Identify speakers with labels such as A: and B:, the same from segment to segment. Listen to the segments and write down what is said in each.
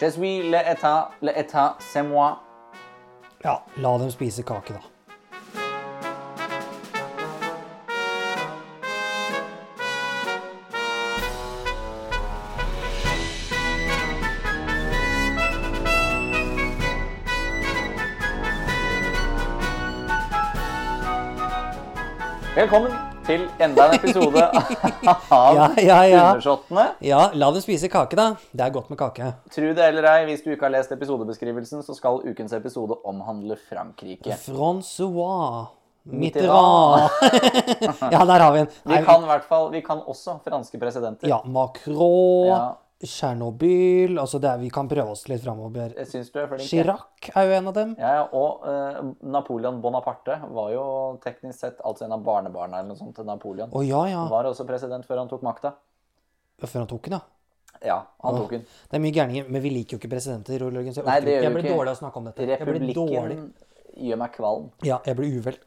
A: Je suis le état, le état, c'est moi.
B: Ja, la dem spise kake, da.
A: Velkommen til enda en episode av
B: Ja, ja, ja.
A: Undersåttene.
B: Ja, la dem spise kake, da. Det er godt med kake.
A: Tro det eller ei, hvis du ikke har lest episodebeskrivelsen, så skal ukens episode omhandle Frankrike.
B: Francois
A: Mitterrand.
B: Mitterrand. ja, der har vi en.
A: Vi kan i hvert fall, vi kan også franske presidenter.
B: Ja, Macron,
A: Ja.
B: Tsjernobyl altså det er, Vi kan prøve oss litt framover.
A: Jeg syns du er flink. jeg.
B: Chirac er jo en av dem.
A: Ja, ja, og eh, Napoleon Bonaparte var jo teknisk sett altså en av barnebarna eller noe sånt til Napoleon.
B: Å ja, ja.
A: Var også president før han tok makta.
B: Før han tok den, ja.
A: Ja, han tok den.
B: Det er mye gærninger, men vi liker jo ikke presidenter. Ole Jørgen, så jeg
A: Nei,
B: orker
A: det gjør vi
B: ikke. jeg blir
A: ikke.
B: dårlig av å snakke om dette. Jeg blir dårlig.
A: Republikken gjør meg kvalm.
B: Ja, jeg blir uvel.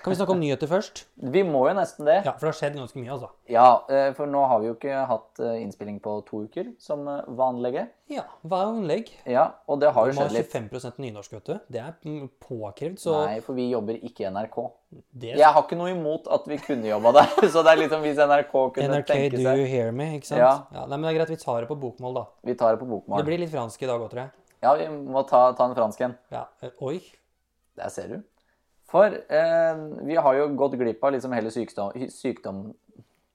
B: Kan vi snakke om nyheter først?
A: Vi må jo nesten det.
B: Ja, for det har skjedd ganske mye, altså.
A: Ja, eh, for nå har vi jo ikke hatt eh, innspilling på to uker, som eh, vanlige.
B: Ja, hva er innlegg?
A: Ja, og det har jo
B: Vi har
A: skjedd litt.
B: 25 nynorsk, vet du. Det er mm, påkrevd, så
A: Nei, for vi jobber ikke i NRK.
B: det
A: Jeg har ikke noe imot at vi kunne jobba der, så det er liksom hvis NRK kunne
B: NRK,
A: tenke
B: do
A: seg
B: you hear me? Ikke sant?
A: Ja.
B: nei, men det er greit, vi tar det på bokmål, da.
A: Vi tar det på
B: Det
A: bokmål.
B: blir litt fransk i dag òg, tror jeg.
A: Ja, vi må ta, ta en fransk en.
B: Ja. eh, Oi.
A: Der ser du. For eh, vi har jo gått glipp av liksom hele sykdom, sykdom,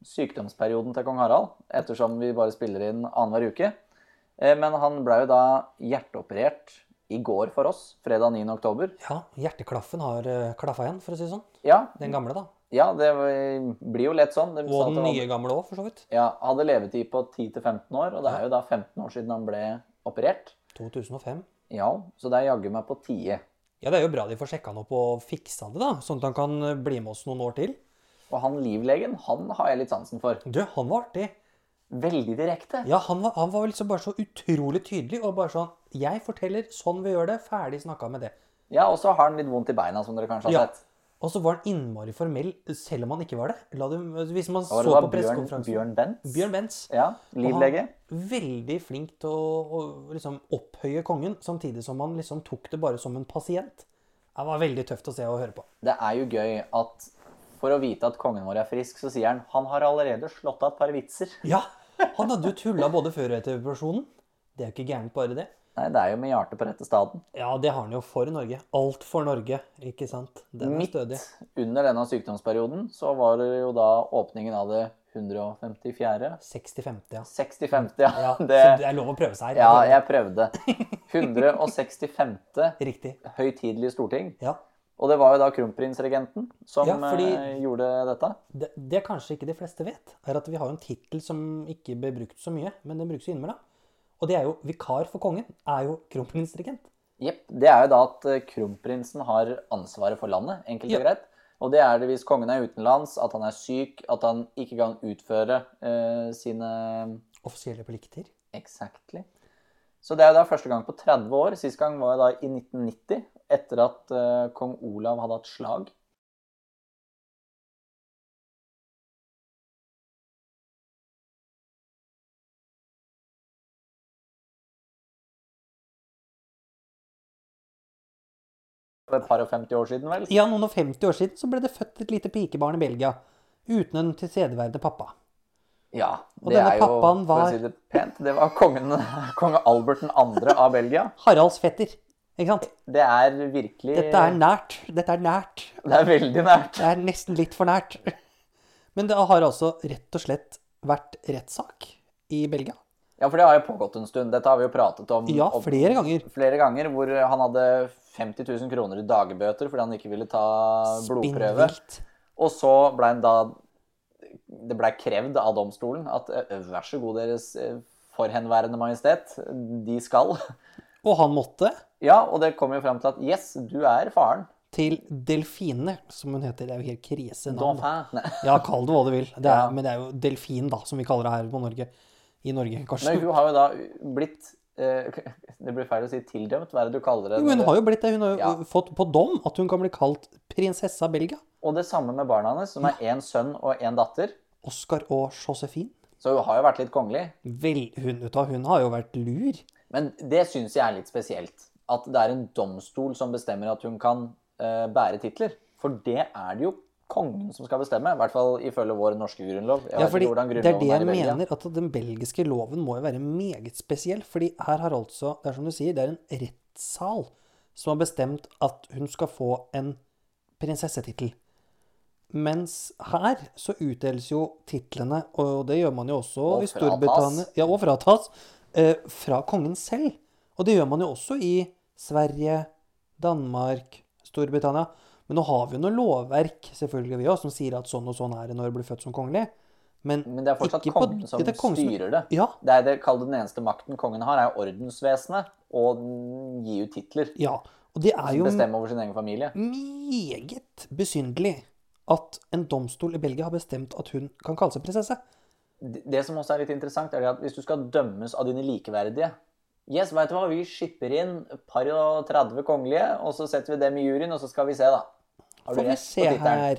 A: sykdomsperioden til kong Harald, ettersom vi bare spiller inn annenhver uke. Eh, men han ble jo da hjerteoperert i går for oss, fredag 9. oktober.
B: Ja, hjerteklaffen har eh, klaffa igjen, for å si det sånn.
A: Ja,
B: Den gamle, da.
A: ja det var- blir jo lett sånn. Det sa
B: Og
A: at
B: den
A: han-
B: nye gamle òg, for så vidt.
A: Ja, hadde levetid på 10-15 år, og det er jo da 15 år siden han ble operert.
B: 2005.
A: Ja, så det er jaggu meg på tide.
B: Ja, det er jo bra de får sjekka han opp og fiksa det, da. Sånn at han kan eh, bli med oss noen år til.
A: Og han livlegen, han har jeg litt sansen for.
B: Du, han var artig.
A: Veldig direkte.
B: Ja, han var, han var liksom bare så utrolig tydelig og bare sånn Jeg forteller sånn vi gjør det. Ferdig snakka med det.
A: Ja, og så har han litt vondt i beina, som dere kanskje har
B: Ja.
A: sett.
B: Og så var han innmari formell, selv om han ikke var det. La du, hvis man
A: Og
B: så
A: det var
B: på
A: Bjørn,
B: pressekonferansen
A: Bjørn Bent.
B: Bjørn Benz.
A: Ja, livlege.
B: Veldig flink til å, å liksom opphøye kongen, samtidig som han liksom tok det bare som en pasient. Det var veldig tøft å se og høre på.
A: Det er jo gøy at for å vite at kongen vår er frisk, så sier han han har allerede slått av et par vitser.
B: Ja, Han hadde jo tulla både før og etter operasjonen. Det er jo ikke gærent, bare det.
A: Nei, det er jo med hjertet på rette staden.
B: Ja, det har han jo for Norge. Alt for Norge, ikke sant? Den er
A: Midt
B: stødig.
A: under denne sykdomsperioden så var det jo da åpningen av det 154.
B: 60-50, ja.
A: 65. Ja,
B: ja
A: det,
B: Så det er lov å prøve seg her.
A: ja jeg prøvde. 165.
B: Riktig.
A: høytidelige storting.
B: Ja.
A: Og det var jo da kronprinsregenten som
B: Ja, fordi-
A: eh, gjorde dette.
B: Det, det kanskje ikke de fleste vet, er at vi har jo en tittel som ikke blir brukt så mye, men den brukes jo innimellom. Og det er jo vikar for kongen, er jo kronprinsdirigent.
A: Jepp. Det er jo da at eh, kronprinsen har ansvaret for landet, enkelt og
B: Ja.
A: greit. Og det er det hvis kongen er utenlands, at han er syk, at han ikke kan utføre eh, sine
B: Offisielle plikter.
A: Exactly. Så det er jo da første gang på 30 år. Sist gang var jo da i 1990, etter at eh, kong Olav hadde hatt slag. For et par og 50 år siden, vel?
B: Ja, noen og 50 år siden så ble det født et lite pikebarn i Belgia, uten en tilstedeværende pappa.
A: Ja.
B: Og denne pappaen
A: for å
B: var-
A: si det pent, det var kongen, konge Albert 2. av Belgia.
B: Haralds fetter, ikke sant?
A: Det er virkelig
B: Dette er nært, dette er nært.
A: det er veldig nært.
B: Det er nesten litt for nært. Men det har altså rett og slett vært rettssak i Belgia.
A: Ja, for det har jo pågått en stund. Dette har vi jo pratet om
B: Ja,
A: om-
B: flere ganger.
A: flere ganger. Hvor han hadde 50 000 kroner i dagbøter fordi han ikke ville ta blodprøve.
B: Spinnvilt.
A: Og så ble han da Det blei krevd av domstolen at eh, vær så god, Deres eh, forhenværende majestet, de skal.
B: Og han måtte
A: Ja, og det kom jo fram til at yes, du er faren.
B: til Delfine, som hun heter. Det er jo helt krise navn. da.
A: Dauphin. Nei.
B: Ja, kall det hva du vil. Det er,
A: Ja.
B: Men det er jo delfin, da, som vi kaller det her på Norge. I Norge, kanskje.
A: Men hun har jo da blitt eh, Det blir feil å si tildømt, hva er det du kaller det?
B: Jo, men hun
A: når
B: har jo blitt det. Hun har jo
A: Ja.
B: uh, fått på dom at hun kan bli kalt prinsessa Belgia.
A: det- Og det samme med barna hennes, som er én sønn og én datter.
B: Oscar og Josefine.
A: Så hun har jo vært litt kongelig.
B: Vel, hun, vet du hva, hun har jo vært lur.
A: Men det syns jeg er litt spesielt. At det er en domstol som bestemmer at hun kan eh, bære titler. For det er det jo kongen som skal bestemme. I hvert fall ifølge vår norske grunnlov. Jeg
B: Ja,
A: vet
B: fordi
A: ikke hvordan
B: det er
A: grunnloven
B: det jeg
A: i Belgia.
B: mener, at den belgiske loven må jo være meget spesiell. Fordi her har altså, det er som du sier, det er en rettssal som har bestemt at hun skal få en prinsessetittel. Mens her så utdeles jo titlene, og det gjør man jo også
A: Og
B: i Storbritannia
A: fratas.
B: ja, Og fratas. Eh, fra kongen selv. Og det gjør man jo også i Sverige, Danmark, Storbritannia. Men nå har vi jo noe lovverk selvfølgelig vi også, som sier at sånn og sånn er det når du blir født som kongelig. Men,
A: Men det er fortsatt
B: ikke på-
A: kongen som
B: det er kongen som-
A: styrer det.
B: Ja,
A: Det er det, kall det den eneste makten kongen har, er ordensvesenet. Og den gir ut titler.
B: ja. Og det er jo
A: Bestemme over sin egen familie.
B: meget besynderlig at en domstol i Belgia har bestemt at hun kan kalle seg prinsesse.
A: Det det som også er litt interessant, er det at hvis du skal dømmes av dine likeverdige Yes, vet du hva, vi skipper inn et par og 30 kongelige, og så setter vi dem i juryen, og så skal vi se, da. Har du
B: Får vi
A: rett
B: se
A: på tittelen?
B: her.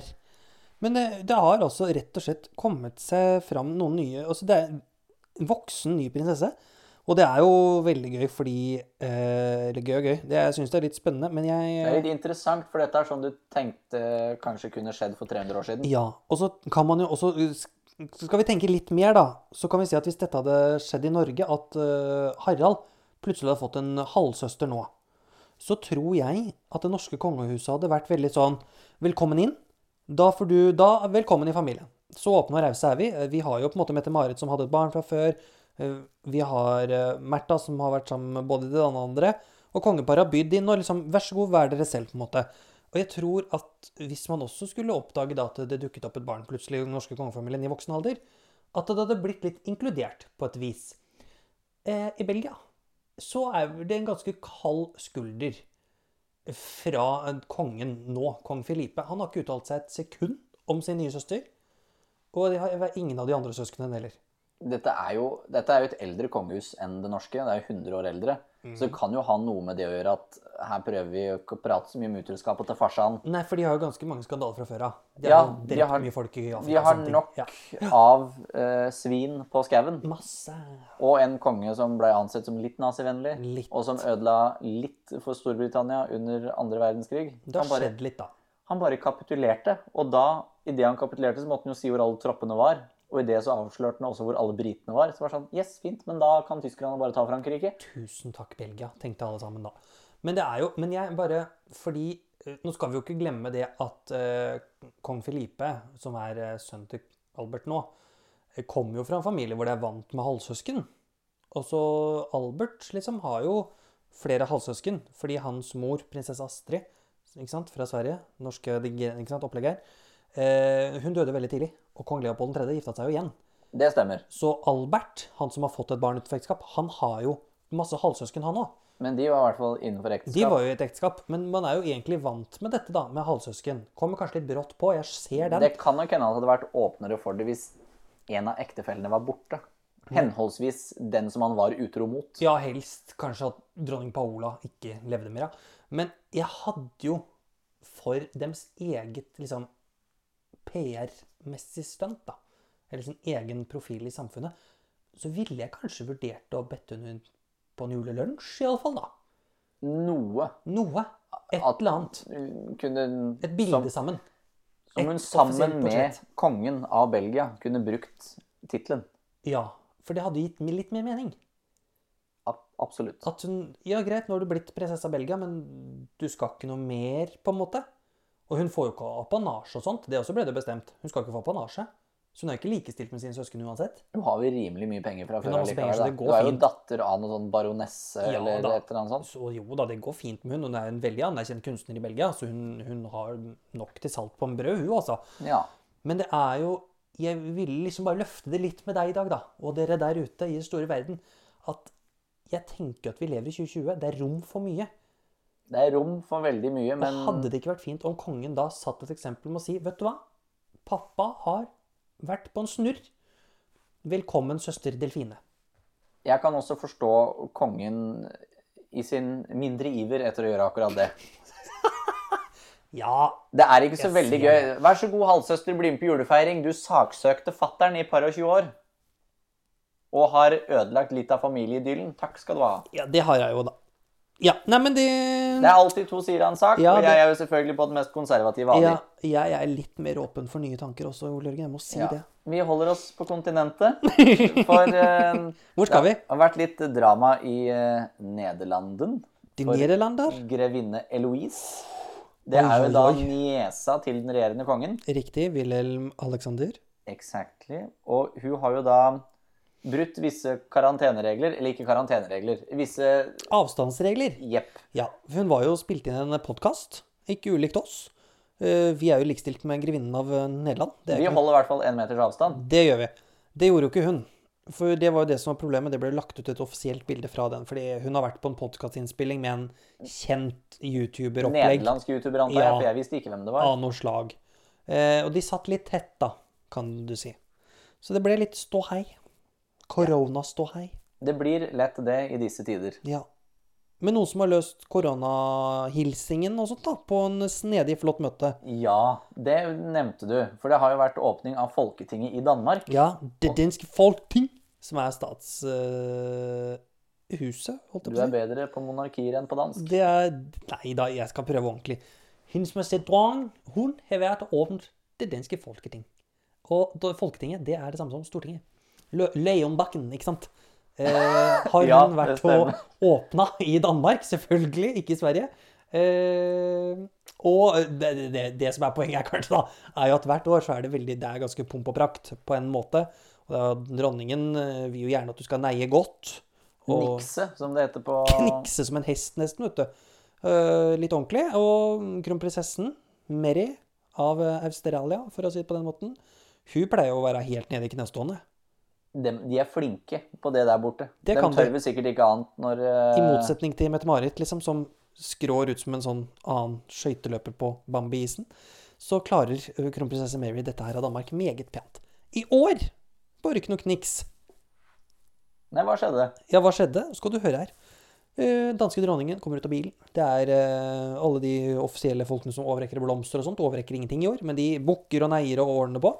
B: Men eh, det har altså rett og slett kommet seg fram noen nye altså Det er en voksen ny prinsesse. Og det er jo veldig gøy fordi eh, Eller gøy og gøy. Det, jeg syns det er litt spennende, men jeg
A: Det er litt interessant, for dette er sånn du tenkte kanskje kunne skjedd for 300 år siden.
B: Ja. Og så kan man jo også så Skal vi tenke litt mer, da, så kan vi si at hvis dette hadde skjedd i Norge, at eh, Harald plutselig hadde fått en halvsøster nå, så tror jeg at det norske kongehuset hadde vært veldig sånn Velkommen inn. Da får du da, Velkommen i familien. Så åpne og rause er vi. Eh, Vi har jo på en måte Mette-Marit som hadde et barn fra før. Eh, Vi har eh, Märtha som har vært sammen med både det ene og det andre. Og kongeparet har bydd inn og liksom Vær så god, vær dere selv, på en måte. Og jeg tror at hvis man også skulle oppdage da at det dukket opp et barn plutselig i den norske kongefamilien i voksen alder, at det hadde blitt litt inkludert på et vis. Eh, I Belgia så er det en ganske kald skulder fra kongen nå, kong Filipe. Han har ikke uttalt seg et sekund om sin nye søster. Og det har ingen av de andre søsknene heller.
A: Dette er, jo, dette er jo et eldre kongehus enn det norske. Det er jo 100 år eldre.
B: Mhm.
A: Så det kan jo ha noe med det å gjøre at her prøver vi å ikke prate så mye om utroskapet til farsan.
B: Nei, for de har jo ganske mange skandaler fra før av. De har
A: Ja,
B: jo
A: de
B: drept
A: har-
B: mye folk i Afrika.
A: Vi har
B: og sånne ting.
A: nok
B: Ja.
A: av eh, svin på skauen.
B: Masse.
A: Og en konge som ble ansett som litt nazivennlig,
B: Litt.
A: og som ødela litt for Storbritannia under andre verdenskrig.
B: Det
A: Han
B: har
A: bare,
B: skjedd litt, da.
A: han bare kapitulerte, og da, idet han kapitulerte, så måtte han jo si hvor alle troppene var. Og i det så avslørte han også hvor alle britene var. Så var det sånn Yes, fint, men da kan tyskerne bare ta Frankrike.
B: Tusen takk, Belgia, tenkte alle sammen da. Men det er jo Men jeg bare Fordi eh, Nå skal vi jo ikke glemme det at eh, kong Felipe, som er eh, sønn til Albert nå, eh, kommer jo fra en familie hvor det er vant med halvsøsken. Og så Albert liksom har jo flere halvsøsken, fordi hans mor, prinsesse Astrid, ikke sant, fra Sverige, norske ikke sant, opplegg her, eh, hun døde veldig tidlig. Og kong Leopold 3. gifta seg jo igjen.
A: Det stemmer.
B: Så Albert, han som har fått et barn utenfor ekteskap, han har jo masse halvsøsken, han òg.
A: Men de var i hvert fall innenfor ekteskap.
B: De var jo i et ekteskap, men man er jo egentlig vant med dette, da, med halvsøsken. Kommer kanskje litt brått på, jeg ser den.
A: Det kan nok hende at det hadde vært åpnere for det hvis en av ektefellene var borte. Henholdsvis den som han var utro mot.
B: Mm. Ja, helst kanskje at dronning Paola ikke levde mer, ja. Men jeg hadde jo for dems eget liksom PR-messig stunt, da, eller sin egen profil i samfunnet, så ville jeg kanskje vurdert å bedt henne ut på en julelunsj, iallfall, da.
A: Noe
B: Noe. Et
A: At-
B: eller annet.
A: kunne
B: Et bilde sammen.
A: Som hun
B: Et
A: sammen
B: offisielt
A: med
B: portrett.
A: kongen av Belgia kunne brukt tittelen.
B: Ja, for det hadde gitt meg litt mer mening.
A: Ab- Absolutt.
B: At hun Ja, greit, nå har du blitt prinsesse av Belgia, men du skal ikke noe mer, på en måte. Og hun får jo ikke apanasje og sånt. Det også ble det bestemt. Hun skal ikke få apanasje. Så hun er ikke likestilt med sine søsken uansett.
A: Nå har vi rimelig mye penger fra
B: Hun
A: før.
B: har masse penger,
A: allikevel,
B: så
A: da.
B: det går
A: Du er jo
B: fint.
A: datter av noen sånn baronesse
B: Ja,
A: eller
B: da.
A: et eller annet sånt.
B: Så jo da, det går fint med hun. Hun er en veldig anerkjent kunstner i Belgia, så hun, hun har nok til salt på en brød, hun altså.
A: Ja.
B: Men det er jo Jeg ville liksom bare løfte det litt med deg i dag, da. Og dere der ute i den store verden. At jeg tenker at vi lever i 2020. Det er rom for mye.
A: Det er rom for veldig mye, men
B: Og hadde det ikke vært fint om kongen da satt et eksempel med å si Vet du hva? Pappa har vært på en snurr. Velkommen, søster Delfine.
A: jeg kan også forstå kongen i sin mindre iver etter å gjøre akkurat det.
B: Ja,
A: Det er ikke så
B: Jeg
A: veldig gøy.
B: ser
A: Vær så god, halvsøster, bli med på julefeiring. Du saksøkte fattern i par og 20 år. og har ødelagt litt av familieidyllen. Takk skal du ha.
B: Ja, det har jeg jo, da. Ja, nei, men det
A: Det er alltid to sider av en sak,
B: Ja,
A: og
B: det-
A: jeg er jo selvfølgelig på den mest konservative av de.
B: ja, Jeg er litt mer åpen for nye tanker også, Ole Jørgen. Jeg må si
A: Ja.
B: det.
A: Vi holder oss på kontinentet, for eh,
B: Hvor skal
A: det har vært litt drama i eh, Nederlanden.
B: vi? De Nederlander?
A: Grevinne Eloise. Det
B: Oi,
A: er jo
B: oi,
A: da
B: oi.
A: niesa til den regjerende kongen.
B: Riktig. Wilhelm Alexander.
A: Exactly. Og hun har jo da brutt visse karanteneregler, eller ikke karanteneregler, visse
B: Avstandsregler.
A: Jepp.
B: Ja, hun var jo spilt inn en podkast, ikke ulikt oss. Eh, Vi er jo likestilt med grevinnen av eh, Nederland. Det, er
A: Vi
B: ikke
A: holder i hvert fall én meters avstand.
B: noe- det gjør vi. Det gjorde jo ikke hun. For det var jo det som var problemet. Det ble lagt ut et offisielt bilde fra den. Fordi hun har vært på en podkastinnspilling med en kjent YouTuber-opplegg
A: Nederlandsk YouTuber, antar jeg,
B: Ja.
A: for jeg visste ikke hvem det var.
B: av noe slag. Eh, Og de satt litt tett, da, kan du si. Så det ble litt ståhei. Korona-ståhei.
A: Det blir lett det i disse tider.
B: Ja. Men noen som har løst koronahilsingen og sånt, da, på en snedig, flott møte.
A: Ja, det nevnte du. For det har jo vært åpning av Folketinget i Danmark.
B: Ja, det danske folketing, som er statshuset, holdt
A: Du
B: jeg på
A: er
B: å si.
A: bedre på monarkier enn på dansk.
B: Det er Nei da, jeg skal prøve ordentlig. Hun som har sett drang, hun har vært og åpnet det danske folketing. Og da- Folketinget, det er det samme som Stortinget. Lø- Leonbakken, ikke sant? Eh, har
A: Ja,
B: hun
A: det
B: vært og
A: stemmer.
B: åpna i Danmark, selvfølgelig, ikke i Sverige. Eh, og det, det, det som er poenget her, kanskje, da, er jo at hvert år så er det veldig, det er ganske pomp og prakt på en måte. Og da, dronningen eh, vil jo gjerne at du skal neie godt. Og
A: Nikse, som det heter på
B: knikse som en hest, nesten, vet du. Eh, litt ordentlig. Og kronprinsessen, Mary av eh, Australia, for å si det på den måten, hun pleier jo å være helt nede i knestående.
A: Dem- De er flinke på det der borte.
B: Det
A: De
B: kan
A: tør
B: de.
A: vel sikkert ikke annet når eh,
B: I motsetning til Mette-Marit, liksom, som skrår ut som en sånn annen skøyteløper på Bambi-isen, så klarer ø, kronprinsesse Mary dette her av Danmark meget pent. I år bare ikke noe kniks.
A: Nei, hva skjedde?
B: Ja, hå skjedde? Skal du høre her. Eh, danske dronningen kommer ut av bilen. Det er eh, alle de offisielle folkene som overrekker blomster og sånt. Overrekker ingenting i år, men de bukker og neier og ordner på.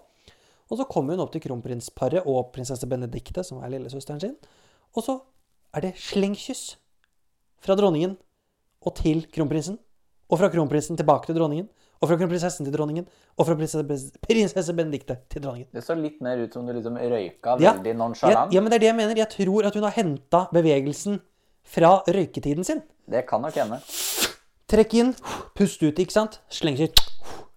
B: Og så kommer hun opp til kronprinsparet og prinsesse Benedikte, som er lillesøsteren sin. Og så er det slengkyss fra dronningen og til kronprinsen. Og fra kronprinsen tilbake til dronningen. Og fra kronprinsessen til dronningen. Og fra prinsesse, prinsesse Benedikte til dronningen.
A: Det så litt mer ut som du liksom røyka
B: Ja.
A: veldig
B: Ja,
A: nonchalant.
B: ja, men det er det jeg mener. Jeg tror at hun har henta bevegelsen fra røyketiden sin.
A: Det kan nok hende.
B: Trekk inn, pust ut, ikke sant? Sleng seg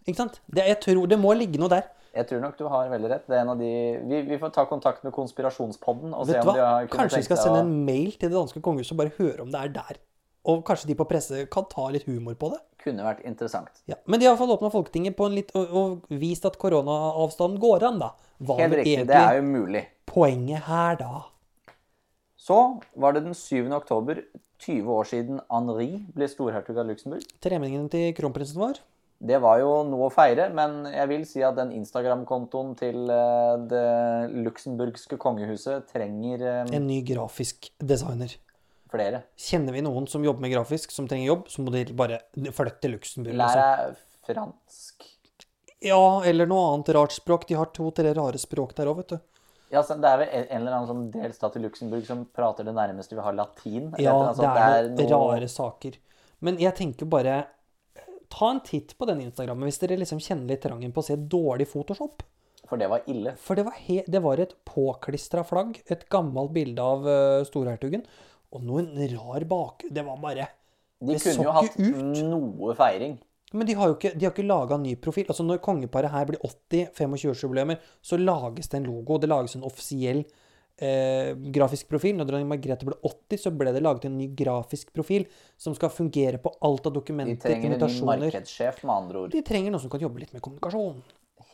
B: Ikke sant? Det, jeg tror det må ligge noe der.
A: Jeg tror nok du har veldig rett. Det er en av de... vi, vi får ta kontakt med Konspirasjonspodden og se
B: Vet
A: om
B: du
A: de
B: hva?
A: har kunnet
B: Kanskje vi skal
A: tenke seg
B: sende
A: å-
B: en mail til det danske kongehuset og bare høre om det er der. Og kanskje de på presse kan ta litt humor på det.
A: Kunne vært interessant.
B: Ja. Men de har iallfall åpna Folketinget på en litt, og, og vist at koronaavstanden går an, da. Hva
A: Helt
B: er
A: riktig.
B: egentlig
A: Det er jo mulig.
B: poenget her, da?
A: Så var det den 7. oktober, 20 år siden Henri ble storhertug av Luxembourg.
B: Tremenningen til kronprinsen vår?
A: Det var jo noe å feire, men jeg vil si at den Instagram-kontoen til eh, det luxemburgske kongehuset trenger eh,
B: En ny grafisk designer.
A: flere.
B: Kjenner vi noen som jobber med grafisk, som trenger jobb, så må de bare flytte til Luxembourg.
A: Lær
B: liksom.
A: deg fransk.
B: Ja, eller noe annet rart språk. De har to-tre rare språk der òg, vet du.
A: Ja, så det er vel en en eller annen sånn delstat i Luxembourg som prater det nærmeste vi har latin. eller
B: Ja,
A: et eller annet
B: det er
A: sånt.
B: noen rare saker. Men jeg tenker bare Ta en titt på den Instagrammen hvis dere liksom kjenner litt trangen på å se dårlig Photoshop.
A: For det var ille.
B: For det var, he det var et påklistra flagg, et gammelt bilde av eh, storhertugen, og noen rar bak... Det var bare
A: De
B: Det så
A: kunne jo
B: ikke
A: hatt
B: ut.
A: noe feiring.
B: Men de har jo ikke, de har ikke laga ny profil. Altså Når kongeparet her blir 80 25-årsjubileer, så lages det en logo. Det lages en offisiell eh, grafisk profil. Når dronning Margrethe ble 80, så ble det laget en ny grafisk profil som skal fungere på alt av
A: De
B: dokumenter,
A: trenger en ny
B: invitasjoner
A: markedssjef, med andre ord.
B: De trenger noen som kan jobbe litt med kommunikasjon.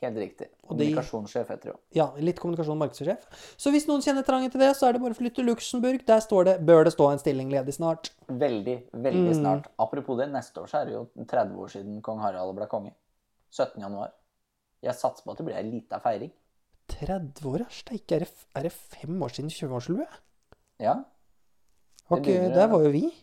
A: Helt riktig.
B: Og de-
A: Kommunikasjonssjef heter det jo.
B: Ja, litt kommunikasjon og markedssjef. Så hvis noen kjenner trangen til det, så er det bare å flytte til Luxembourg. Der står det 'Bør det stå en stilling ledig snart'?
A: Veldig, veldig
B: Mm.
A: snart. Apropos det, neste år så er det jo 30 år siden kong Harald ble konge. 17. januar. Jeg satser på at det blir ei lita feiring.
B: 30 år, ja. Steike, er, det- er det fem år siden 20-årsjubileet?
A: Ja.
B: Var
A: Det
B: ikke,
A: begynner-
B: der var jo vi.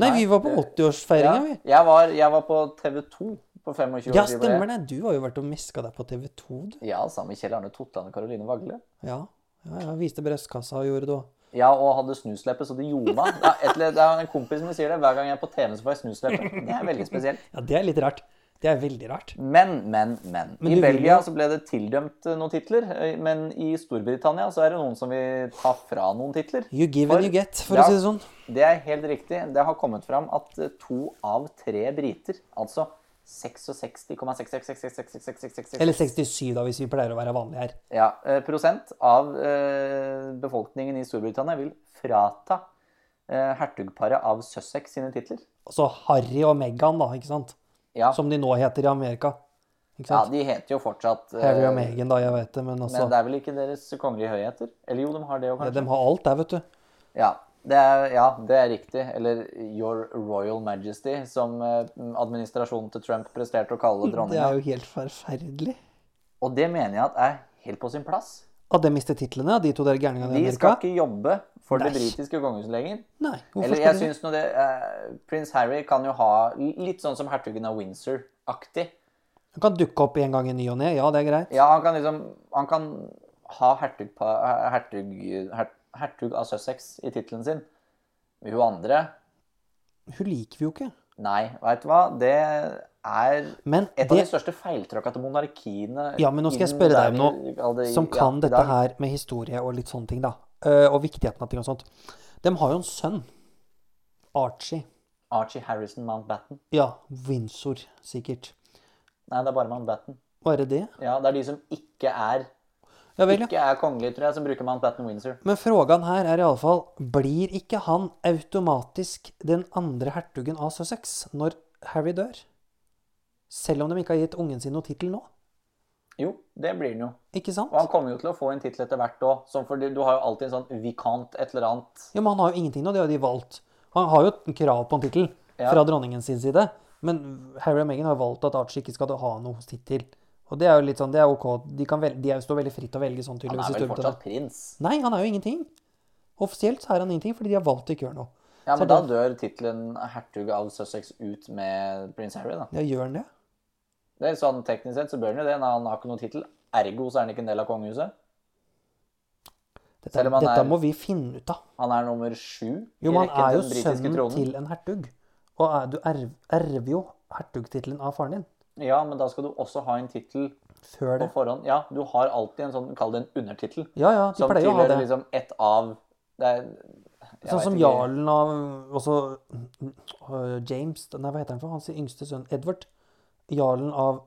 B: Nei,
A: Nei,
B: vi var på
A: det-
B: 80-årsfeiringa, vi.
A: Jeg, var, jeg var på TV 2 på 25-årsjubileet.
B: Ja, stemmer det. Du har jo vært og meska deg på TV 2, du.
A: Ja, sammen med Kjell Arne Totland og Caroline Vagle.
B: Ja. Ja, ja, viste brystkassa og gjorde det òg.
A: Ja, og hadde snusleppe, så det gjorde meg. Det er, et, eller- det er en kompis som sier det. Hver gang jeg er på TV, så får jeg snusleppe. Det er veldig spesielt.
B: Ja, det er litt rart. Det er veldig rart.
A: Men, men, men.
B: Men
A: I
B: du vil
A: Belgia
B: jo-
A: så ble det tildømt eh, noen titler, eh, men i Storbritannia så er det noen som vil ta fra noen titler.
B: You give
A: For-
B: and you get, for
A: Ja.
B: å si det sånn.
A: Det er helt riktig. Det har kommet fram at eh, to av tre briter, altså 66,666666666
B: Eller 67, da, hvis vi pleier å være vanlige her.
A: ja, eh, prosent av eh, befolkningen i Storbritannia vil frata eh, hertugparet av Sussex sine titler.
B: Altså Harry og Meghan, da, ikke sant?
A: Ja,
B: Som de nå heter i Amerika. Ikke
A: ja
B: sant?
A: de heter jo fortsatt eh,
B: Harry og Meghan, da, jeg vet det, men altså
A: Men det er vel ikke deres kongelige høyheter? Eller jo, de har det jo kanskje.
B: De har alt der, vet du.
A: Ja, det er, ja, det er riktig. Eller Your Royal Majesty, som eh, administrasjonen til Trump presterte å kalle
B: Det
A: dronninga.
B: er jo helt forferdelig.
A: Og det mener jeg at er helt på sin plass.
B: At de mister titlene, de to der gærningene i
A: De skal
B: Amerika?
A: ikke jobbe for det
B: Nei.
A: britiske kongehuset lenger.
B: Nei. Hvorfor
A: Eller
B: skal
A: jeg
B: de det?
A: synes nå det eh, Prins Harry kan jo ha l- litt sånn som hertugen av Windsor-aktig.
B: De kan dukke opp en gang i ny og ne, ja, det er greit.
A: Ja, han kan liksom Han kan ha hertug, pa- hertug, her- hertug av Sussex i tittelen sin. Men hun andre
B: Hun liker vi jo ikke.
A: Nei, veit du hva? Det er
B: Men
A: et av
B: det
A: de største feiltråkka til monarkiene
B: Ja, men nå skal
A: i
B: jeg
A: den
B: spørre deg om
A: moderne- aldri-
B: som kan
A: ja, i
B: dette
A: dag.
B: her med historie og litt sånne ting, da, eh, og viktigheten av ting og sånt, de har jo en sønn. Archie.
A: Archie Harrison Mountbatten.
B: Ja, Windsor, sikkert.
A: Nei, det er bare Mountbatten.
B: Bare det?
A: Ja, det er de som ikke er
B: Ja vel, ja.
A: Ikke er kongelige, tror jeg, som bruker Mountbatten Windsor.
B: Men frågan her er iallfall Blir ikke han automatisk den andre hertugen av Sussex når Harry dør? Selv om de ikke har gitt ungen sin noen tittel nå?
A: Jo, det blir den jo.
B: Ikke sant?
A: Og han kommer jo til å få en tittel etter hvert òg. Sånn fordi du har jo alltid en sånn vikant et eller annet.
B: Ja, Men han har jo ingenting nå, det har de valgt. Han har jo et krav på en tittel
A: Ja.
B: fra dronningens sin side, men Harry og Meghan har valgt at Archie ikke skal ha noen tittel. Og det er jo litt sånn, det er ok. De, kan vel, de er jo står veldig fritt til å velge sånn,
A: Han
B: tydeligvis.
A: er
B: i
A: vel
B: Storbritannia.
A: fortsatt prins.
B: Nei, han er jo ingenting. Offisielt så er han ingenting, fordi de har valgt å ikke gjøre noe.
A: Ja,
B: Så
A: men da dør tittelen hertug av Sussex ut med prins Harry, da.
B: Ja, gjør han det?
A: Det er sånn Teknisk sett så bør han jo det, når han har ikke noen tittel. Ergo så er han ikke en del av kongehuset.
B: Dette,
A: Selv om han
B: dette
A: er-
B: må vi finne ut av.
A: Han er nummer sju i
B: Jo, men han
A: rekken
B: er
A: til
B: jo
A: den britiske
B: sønnen
A: tronen.
B: til en hertug. Og er, du erv, erver jo hertugtittelen av faren din
A: Ja, men da skal du også ha en tittel på
B: før det.
A: forhånd. Ja, du har alltid en sånn, kall det en undertittel.
B: Ja, ja, de
A: Som
B: pleier å ha
A: tilhører
B: det.
A: liksom ett av det er, jeg
B: Sånn
A: vet
B: som
A: ikke.
B: jarlen av også, øh, James Nei, hva heter han for? Hans yngste sønn Edward. Jarlen av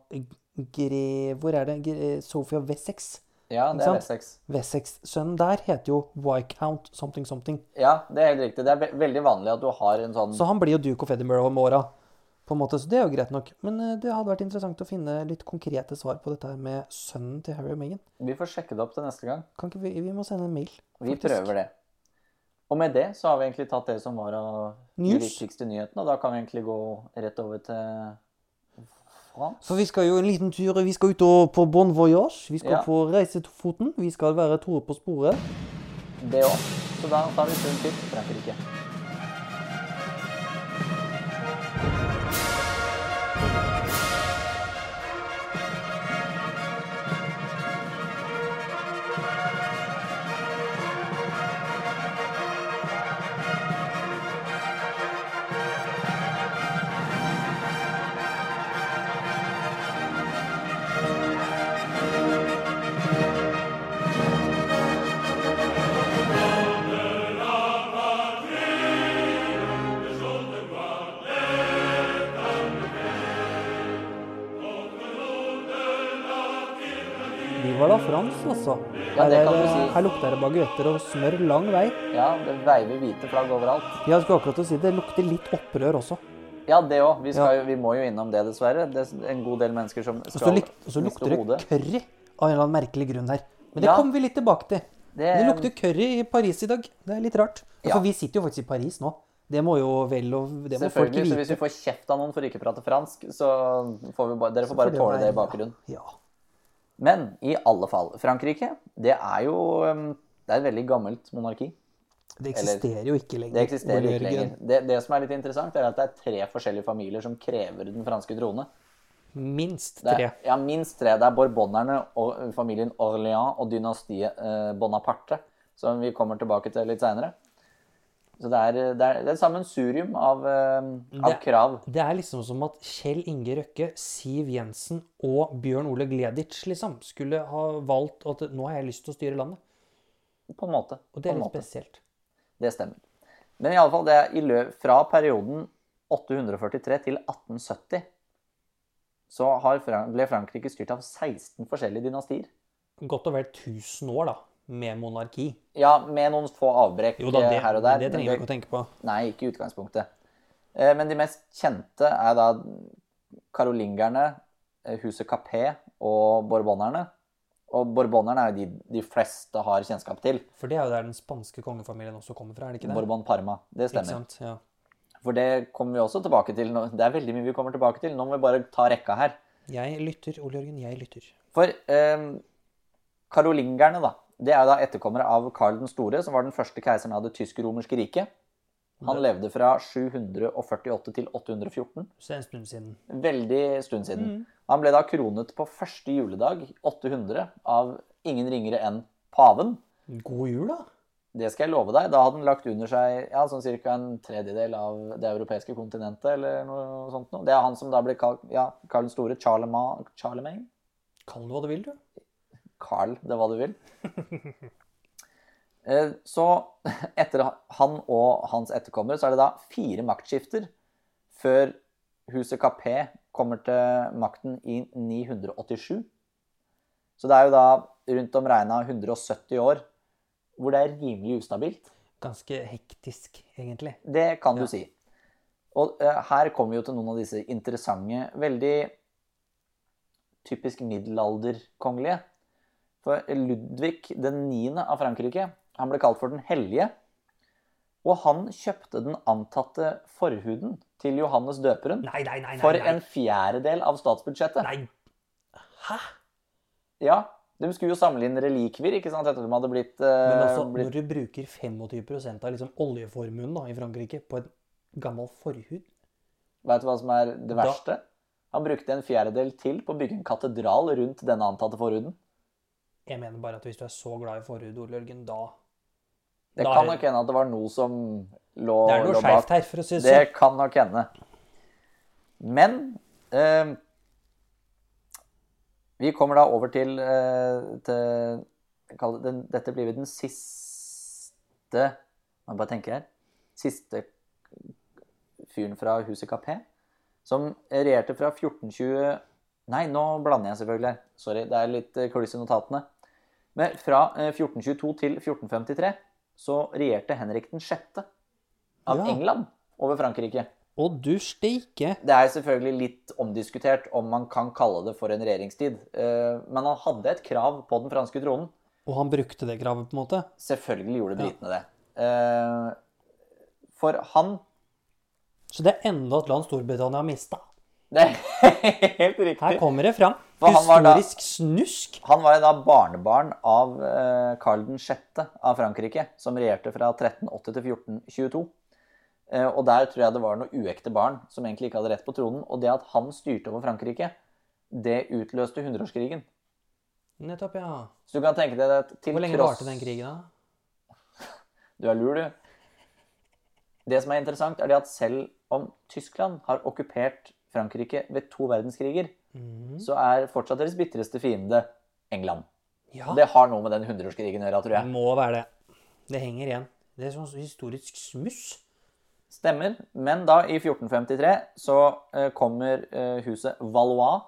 B: Gre... Hvor er det? Gre, Sophie of Wessex.
A: Ja, det er
B: sant?
A: Wessex.
B: Wessex-sønnen der heter jo Wycount something something.
A: Ja, det er helt riktig. Det er ve veldig vanlig at du har en sånn
B: Så han blir jo Duke of Edinburgh om åra. På en måte, så det er jo greit nok. Men øh, det hadde vært interessant å finne litt konkrete svar på dette her med sønnen til Harry og Meghan.
A: Vi får sjekke det opp til neste gang.
B: Kan ikke vi, vi må sende en mail.
A: Vi
B: faktisk.
A: prøver det. Og med det så har vi egentlig tatt det som var av de
B: News.
A: viktigste nyhetene, og da kan vi egentlig gå rett over til France.
B: For vi skal jo en liten tur. Vi skal ut og på bon voyage. Vi skal
A: Ja.
B: på reisefoten. Vi skal være Tore på sporet.
A: Det òg. Så da tar vi turen til Frankrike.
B: Vi var da Frans, altså.
A: Ja, det
B: Her er
A: kan du
B: det-
A: si.
B: Her lukter det baguetter og smør lang vei.
A: Ja, det veiver hvite flagg overalt.
B: Jeg skulle akkurat til å si det lukter litt opprør også.
A: Ja, det òg. Vi, skal jo- vi må jo innom det, dessverre. Det er en god del mennesker som
B: Og så
A: skal
B: Altså, lik- og så
A: miste
B: lukter det
A: hodet.
B: curry av en eller annen merkelig grunn her. Men det
A: Ja.
B: kommer vi litt tilbake til. Det
A: Det-
B: lukter curry i Paris i dag. Det er litt rart. Ja,
A: Ja.
B: For vi sitter jo faktisk i Paris nå. Det må jo vel og Det må folk
A: Selvfølgelig. Så
B: vite.
A: hvis vi får kjeft av noen for ikke å prate fransk, så får vi bare, dere får bare
B: For
A: tåle det i
B: var-
A: bakgrunnen.
B: Ja.
A: Men i alle fall, Frankrike det er jo um, det er et veldig gammelt monarki.
B: Det eksisterer jo ikke lenger.
A: Det eksisterer
B: Ole
A: jo ikke
B: Jørgen.
A: lenger. Det, det som er litt interessant, er at det er tre forskjellige familier som krever den franske trone.
B: Minst
A: Det
B: tre.
A: er, ja, minst tre. Det er borbonerne og eh, familien Orléans og dynastiet eh, Bonaparte, som vi kommer tilbake til litt seinere. Så det er, eh, det er, det er et sammensurium av, eh, av
B: Det-
A: krav.
B: Det er liksom som at Kjell Inge Røkke, Siv Jensen og Bjørn Ole Gleditsch liksom, skulle ha valgt at nå har jeg lyst til å styre landet.
A: På en måte.
B: Og det
A: på
B: er
A: en
B: litt
A: måte.
B: spesielt.
A: Det stemmer. Men i alle fall, det er i lø fra perioden 843 til 1870 så har Fran ble Frankrike styrt av 16 forskjellige dynastier.
B: Godt og vel 1000 år da, med monarki.
A: Ja, med noen få avbrekk
B: Jo da, det,
A: eh, her og der.
B: det
A: men
B: trenger vi ikke å tenke på.
A: Nei, ikke i utgangspunktet. Eh, Men de mest kjente er da karolingerne, eh, huset Capet og borbonerne. Og borbonerne er jo de de fleste har kjennskap til.
B: For det er jo der den spanske kongefamilien også kommer fra, er det ikke det?
A: Borbon Parma. Det
B: Ikke
A: stemmer.
B: sant? Ja.
A: For det kommer vi også tilbake til. nå. Det er veldig mye vi kommer tilbake til. Nå må vi bare ta rekka her.
B: Jeg lytter, Ole Jørgen, jeg lytter.
A: For eh, karolingerne, da. Det er jo da etterkommere av Karl den store, som var den første keiseren av det tysk-romerske riket. Han levde fra 748 til 814.
B: Så det er en stund siden.
A: Veldig stund siden. Han ble da kronet på første juledag, 800, av ingen ringere enn paven.
B: God jul da.
A: Det skal jeg love deg. Da hadde han lagt under seg ja, sånn ca. en tredjedel av det europeiske kontinentet. eller noe sånt. Noe. Det er han som da ble kalt ja, Karl den store. Charlema- Charlemagne?
B: Kall det hva du vil, du.
A: Carl, det er hva du vil. Eh, Så etter han og hans etterkommere, så er det da fire maktskifter før huset Capet kommer til makten i 987. Så det er jo da rundt om regna 170 år hvor det er rimelig ustabilt.
B: Ganske hektisk, egentlig.
A: Det kan
B: Ja.
A: du si. Og eh, her kommer vi jo til noen av disse interessante, veldig typisk middelalderkongelige. For Ludvig den 9. av Frankrike, han ble kalt for den hellige. Og han kjøpte den antatte forhuden til Johannes døperen
B: Nei, nei, nei, nei.
A: for
B: nei.
A: en fjerdedel av statsbudsjettet.
B: Nei. Hæ?
A: Ja, De skulle jo samle inn relikvier ikke sant, etter at de hadde blitt, eh,
B: Men altså,
A: blitt
B: når du bruker 25 av liksom oljeformuen da, i Frankrike på en gammel forhud
A: Vet du hva som er det
B: Da-
A: verste? Han brukte en fjerdedel til på å bygge en katedral rundt denne antatte forhuden.
B: Jeg mener bare at hvis du er så glad i forhud, Ole Jørgen, da
A: Det
B: Da er
A: kan
B: det-
A: nok hende at det var noe som lå,
B: Det er noe
A: lå bak.
B: skeivt her, for å si det
A: Det
B: sånn.
A: kan nok hende. Men eh, vi kommer da over til, eh, til jeg kaller det, den, Dette blir vel den siste Må jeg bare tenke her. Siste fyren fra huset Capet, som regjerte fra 1420 Nei, nå blander jeg selvfølgelig her. Sorry, det er litt eh, kluss i notatene. Men fra eh, 1422 til 1453 så regjerte Henrik den sjette av
B: Ja.
A: England over Frankrike.
B: Og du steike!
A: Det er selvfølgelig litt omdiskutert om man kan kalle det for en regjeringstid. eh, Men han hadde et krav på den franske tronen.
B: Og han brukte det kravet, på en måte.
A: Selvfølgelig gjorde britene det. Eh, For han
B: Så det er enda et land Storbritannia har mista.
A: Det er helt
B: Her
A: riktig.
B: kommer det fram.
A: For han var da-
B: Historisk snusk.
A: Han var jo da barnebarn av eh, Karl 6. av Frankrike, som regjerte fra 1380 til 1422. Eh, Og der tror jeg det var noen uekte barn som egentlig ikke hadde rett på tronen. Og det at han styrte over Frankrike, det utløste hundreårskrigen.
B: Nettopp, ja.
A: Så du kan tenke deg at til
B: Hvor lenge
A: tross
B: varte den krigen, da?
A: Du er lur, du. Det som er interessant, er det at selv om Tyskland har okkupert Frankrike ved to verdenskriger,
B: Mhm.
A: så er fortsatt deres bitreste fiende England.
B: Ja,
A: Og det har noe med den hundreårskrigen å gjøre, tror jeg.
B: det må være det. Det henger igjen. Det er sånn historisk smuss.
A: Stemmer. Men da, i 1453, så eh, kommer eh, huset Valois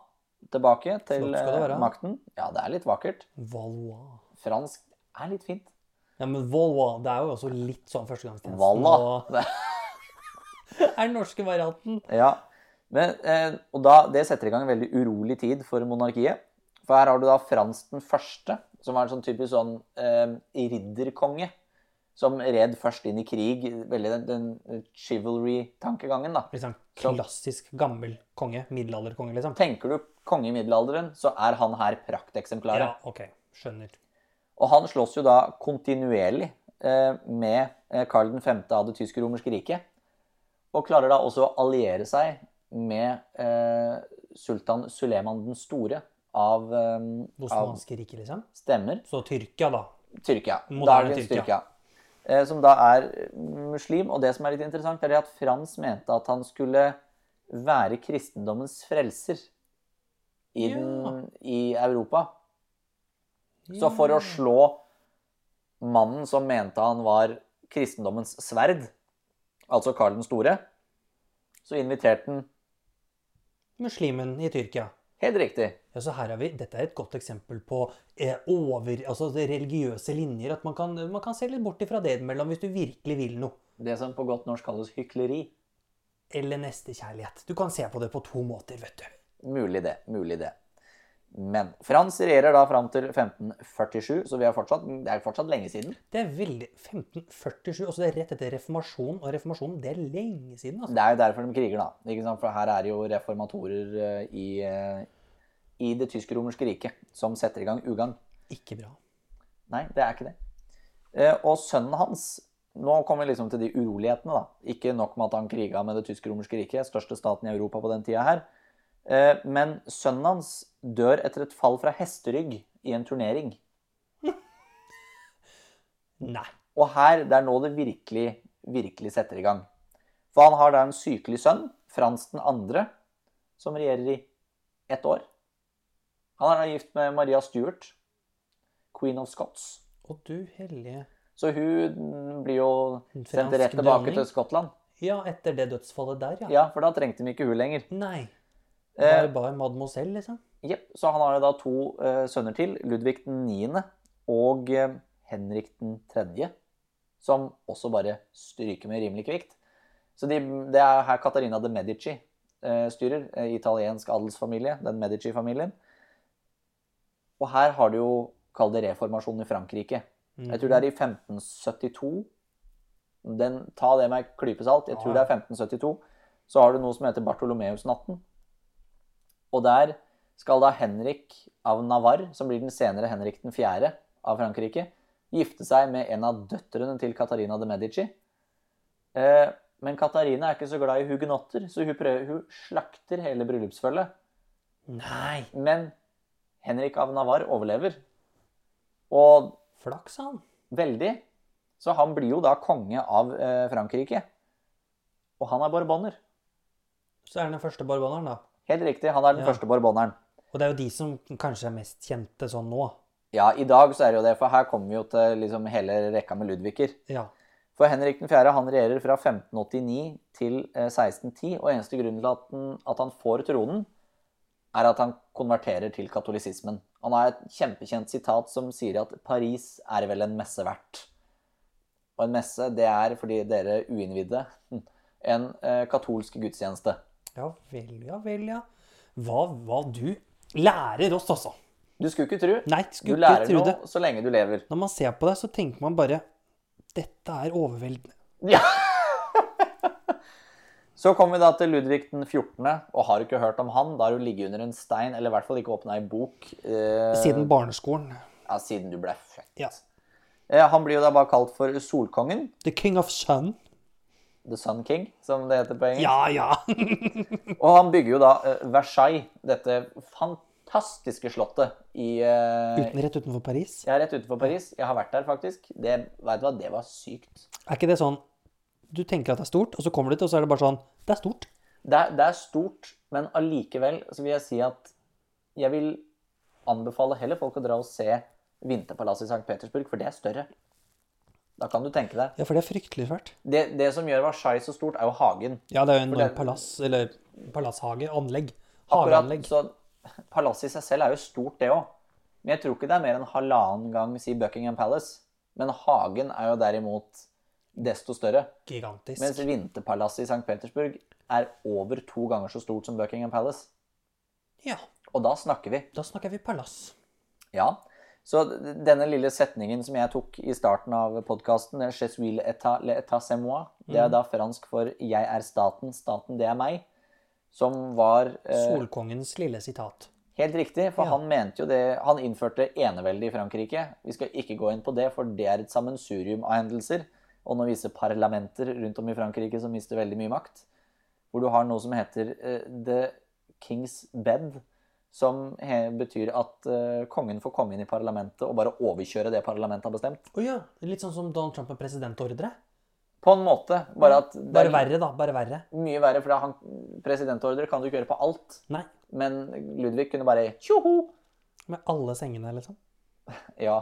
A: tilbake til
B: Flott skal
A: eh,
B: det være.
A: makten. Ja, det er litt vakkert.
B: Valois.
A: Fransk er litt fint.
B: Ja, men Valois, det er jo også litt sånn førstegangstjenesten.
A: Valla.
B: og- er den norske varianten.
A: Ja. Men, eh, og da, det setter i gang en veldig urolig tid for monarkiet. For her har du da Frans den første, som var en sånn typisk sånn eh, ridderkonge. Som red først inn i krig. Veldig den, den chivalry-tankegangen, da.
B: Liksom klassisk gammel konge. Middelalderkonge, liksom.
A: Tenker du konge i middelalderen, så er han her prakteksemplaret.
B: Ja, ok. Skjønner.
A: Og han slåss jo da kontinuerlig eh, med eh, Karl 5. av det tysk-romerske riket. Og klarer da også å alliere seg med eh, sultan Suleman den store av, eh,
B: Det
A: av
B: osmanske riket, liksom.
A: stemmer.
B: Så Tyrkia, da.
A: Tyrkia.
B: Moderne
A: Dagens
B: Tyrkia.
A: Tyrkia. Eh, Som da er muslim. Og det som er litt interessant, er det at Frans mente at han skulle være kristendommens frelser i, den, i Europa. Så for å slå mannen som mente han var kristendommens sverd, altså Karl den store, så inviterte han
B: Muslimen i Tyrkia.
A: Helt riktig.
B: Ja, så her er vi, Dette er et godt eksempel på eh, over, altså det religiøse linjer. At man kan, man kan se litt bort ifra det imellom hvis du virkelig vil noe.
A: Det som på godt norsk kalles hykleri.
B: Eller nestekjærlighet. Du kan se på det på to måter, vet du.
A: Mulig det. Mulig det. Men Frans regjerer da fram til 1547, så vi er fortsatt, det er fortsatt lenge siden.
B: Det er veldig 1547. altså Det er rett etter reformasjonen. Og reformasjonen, det er lenge siden. altså.
A: Det er jo derfor de kriger, da. Ikke sant? For her er det jo reformatorer eh, i, eh, i det tysk-romerske riket som setter i gang ugagn.
B: Ikke bra.
A: Nei, det er ikke det. Eh, Og sønnen hans Nå kommer vi liksom til de urolighetene, da. Ikke nok med at han kriga med det tysk-romerske riket, største staten i Europa på den tida her. Eh, Men sønnen hans dør etter et fall fra hesterygg i en turnering.
B: Nei.
A: Og her, det er nå det virkelig, virkelig setter i gang. For han har da en sykelig sønn, Frans den andre, som regjerer i ett år. Han er da gift med Maria Stuart, queen of Scots.
B: Og du hellige
A: Så hun blir jo
B: En
A: sendt
B: fransk
A: rett tilbake
B: dronning.
A: til Skottland.
B: Ja, etter det dødsfallet der, ja.
A: Ja, for da trengte de ikke hun lenger.
B: Nei.
A: Eh,
B: Bare bare mademoiselle, liksom.
A: Jepp, Så han har jo da to eh, sønner til, Ludvig den 9. og eh, Henrik den 3., som også bare stryker med rimelig kvikt. Så de, det er her Katarina de Medici eh, styrer, eh, italiensk adelsfamilie, den Medici-familien. Og her har du jo, kall det reformasjonen i Frankrike. Jeg tror det er i 1572. Den, ta det med en klype salt. Jeg tror det er 1572. Så har du noe som heter Bartolomeus-natten. Og der skal da Henrik av Navarre, som blir den senere Henrik den 4. av Frankrike, gifte seg med en av døtrene til Katarina de Medici. Eh, men Katarina er ikke så glad i hugenotter, så hun, prøver, hun slakter hele bryllupsfølget.
B: Mm. Nei!
A: Men Henrik av Navarre overlever. Og
B: Flaks, han.
A: Veldig. Så han blir jo da konge av eh, Frankrike. Og han er borboner.
B: Så er han den første barbaneren, da.
A: Helt riktig, han er den
B: Ja.
A: første borboneren.
B: Og det er jo de som kanskje er mest kjente sånn nå.
A: Ja, i dag så er det jo det, for her kommer vi jo til liksom hele rekka med Ludviger.
B: Ja.
A: For Henrik 4. han regjerer fra 1589 til eh, 1610, og eneste grunnen til at han, at han får tronen, er at han konverterer til katolisismen. Han har et kjempekjent sitat som sier at 'Paris er vel en messe verdt'. Og en messe, det er, fordi dere uinnvidde, en eh, katolsk gudstjeneste.
B: Ja vel, ja vel, ja. Hva, hva du lærer oss, altså.
A: Du skulle ikke tro.
B: Nei,
A: Du
B: skulle ikke
A: lærer
B: tro det.
A: noe så lenge du lever.
B: Når man ser på det, så tenker man bare Dette er overveldende.
A: Ja. Så kommer vi da til Ludvig den 14., og har du ikke hørt om han, da har du ligget under en stein, eller i hvert fall ikke åpna ei bok eh,
B: Siden barneskolen.
A: ja, siden du ble født.
B: Ja.
A: Eh, han blir jo da bare kalt for Solkongen,
B: The King of Sun.
A: The Sun King, som det heter på engelsk.
B: Ja, ja.
A: Eh. Og han bygger jo da eh, Versailles, dette fantastiske slottet i eh,
B: Uten, rett utenfor Paris.
A: Jeg er rett utenfor Paris. Jeg har vært der, faktisk. Det, vet du hva, det var sykt.
B: Er ikke det sånn Du tenker at det er stort, og så kommer du dit, og så er det bare sånn Det er stort.
A: Det er, det er stort, men allikevel så vil jeg si at jeg vil anbefale heller folk å dra og se Vinterpalasset i St. Petersburg, for det er større. Da kan du tenke deg.
B: Ja, for det er fryktelig svært.
A: Det, det som gjør Versailles så stort, er jo hagen.
B: Ja, det er jo en
A: det-
B: enorm palass, eller palasshage, anlegg.
A: Akkurat,
B: Hageanlegg.
A: så Palasset i seg selv er jo stort, det òg. Men jeg tror ikke det er mer enn halvannen gang si Buckingham Palace. Men hagen er jo derimot desto større.
B: Gigantisk.
A: Mens Vinterpalasset i St. Petersburg er over to ganger så stort som Buckingham Palace.
B: Ja,
A: Og da snakker vi
B: da snakker vi palass.
A: Ja. Så d- denne lille setningen som jeg tok i starten av podkasten, «Je suis l'état, l'état c'est moi», det er da fransk for 'jeg er staten, staten det er meg', som var eh,
B: Solkongens lille sitat.
A: helt riktig, for han mente jo det Han innførte eneveldet i Frankrike. Vi skal ikke gå inn på det, for det er et sammensurium av hendelser. Og når visse parlamenter rundt om i Frankrike som mister veldig mye makt. hvor du har noe som heter eh, The King's Bed, som he betyr at eh, kongen får komme inn i parlamentet og bare overkjøre det parlamentet har bestemt.
B: Å ja. Litt sånn som Donald Trump med presidentordre.
A: På en måte, bare at det
B: Bare
A: er
B: verre, da. Bare verre.
A: mye verre, for da han, presidentordre kan du ikke gjøre på alt.
B: Nei.
A: Men Ludvig kunne bare tjoho!
B: Med alle sengene, liksom.
A: Ja,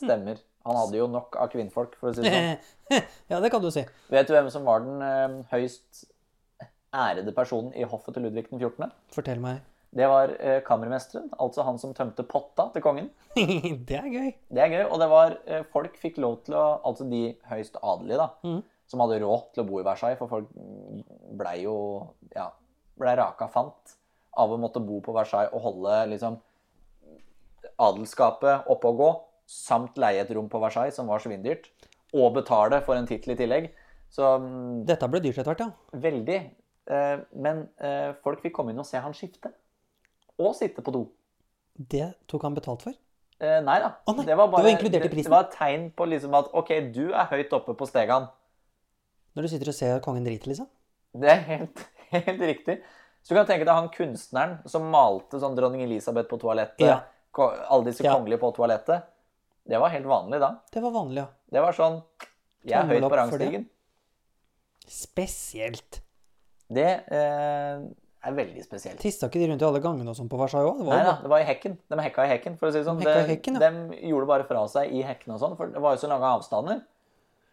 A: stemmer. Han hadde jo nok av kvinnfolk, for å si det sånn.
B: ja, det kan du si.
A: Vet du hvem som var den eh, høyst ærede personen i hoffet til Ludvig den 14.?
B: Fortell meg.
A: Det var eh, kammermesteren, altså han som tømte potta til kongen.
B: det er gøy.
A: Det er gøy, og det var eh, folk fikk lov til å, altså de høyst adelige da,
B: Mhm.
A: som hadde råd til å bo i Versailles, for folk ble jo, ja, ble raka fant av å måtte bo på Versailles og holde liksom adelskapet oppe og gå, samt leie et rom på Versailles, som var svindyrt, og betale for en titel i tillegg. Så mm,
B: Dette ble dyrt etter hvert, ja.
A: veldig, eh, men eh, folk fikk komme inn og se han skifte, og sitte på do.
B: Det tok han betalt for.
A: Eh, nei da.
B: Å, nei.
A: Det var
B: Det var
A: bare
B: inkludert i
A: det-
B: prisen.
A: Det var et tegn på liksom at OK, du er høyt oppe på stegan.
B: Når du sitter og ser kongen drite, liksom.
A: Det er helt, helt riktig. Så du kan tenke deg han kunstneren som malte sånn dronning Elisabeth på toalettet.
B: Ja.
A: ko- Alle disse
B: Ja.
A: kongelige på toalettet. Det var helt vanlig da.
B: Det var vanlig, ja.
A: Det var sånn Jeg er
B: Tommel
A: høyt på
B: opp for det.
A: rangstigen.
B: Spesielt.
A: Det eh, er veldig spesielt.
B: Tissa ikke de rundt i alle gangene og sånn på Versailles òg?
A: Nei da, det var i hekken. De hekka i hekken, for å si det sånn.
B: De hekka i
A: De,
B: hekken, ja.
A: de gjorde bare fra seg i hekken og sånn, for det var jo så lange avstander.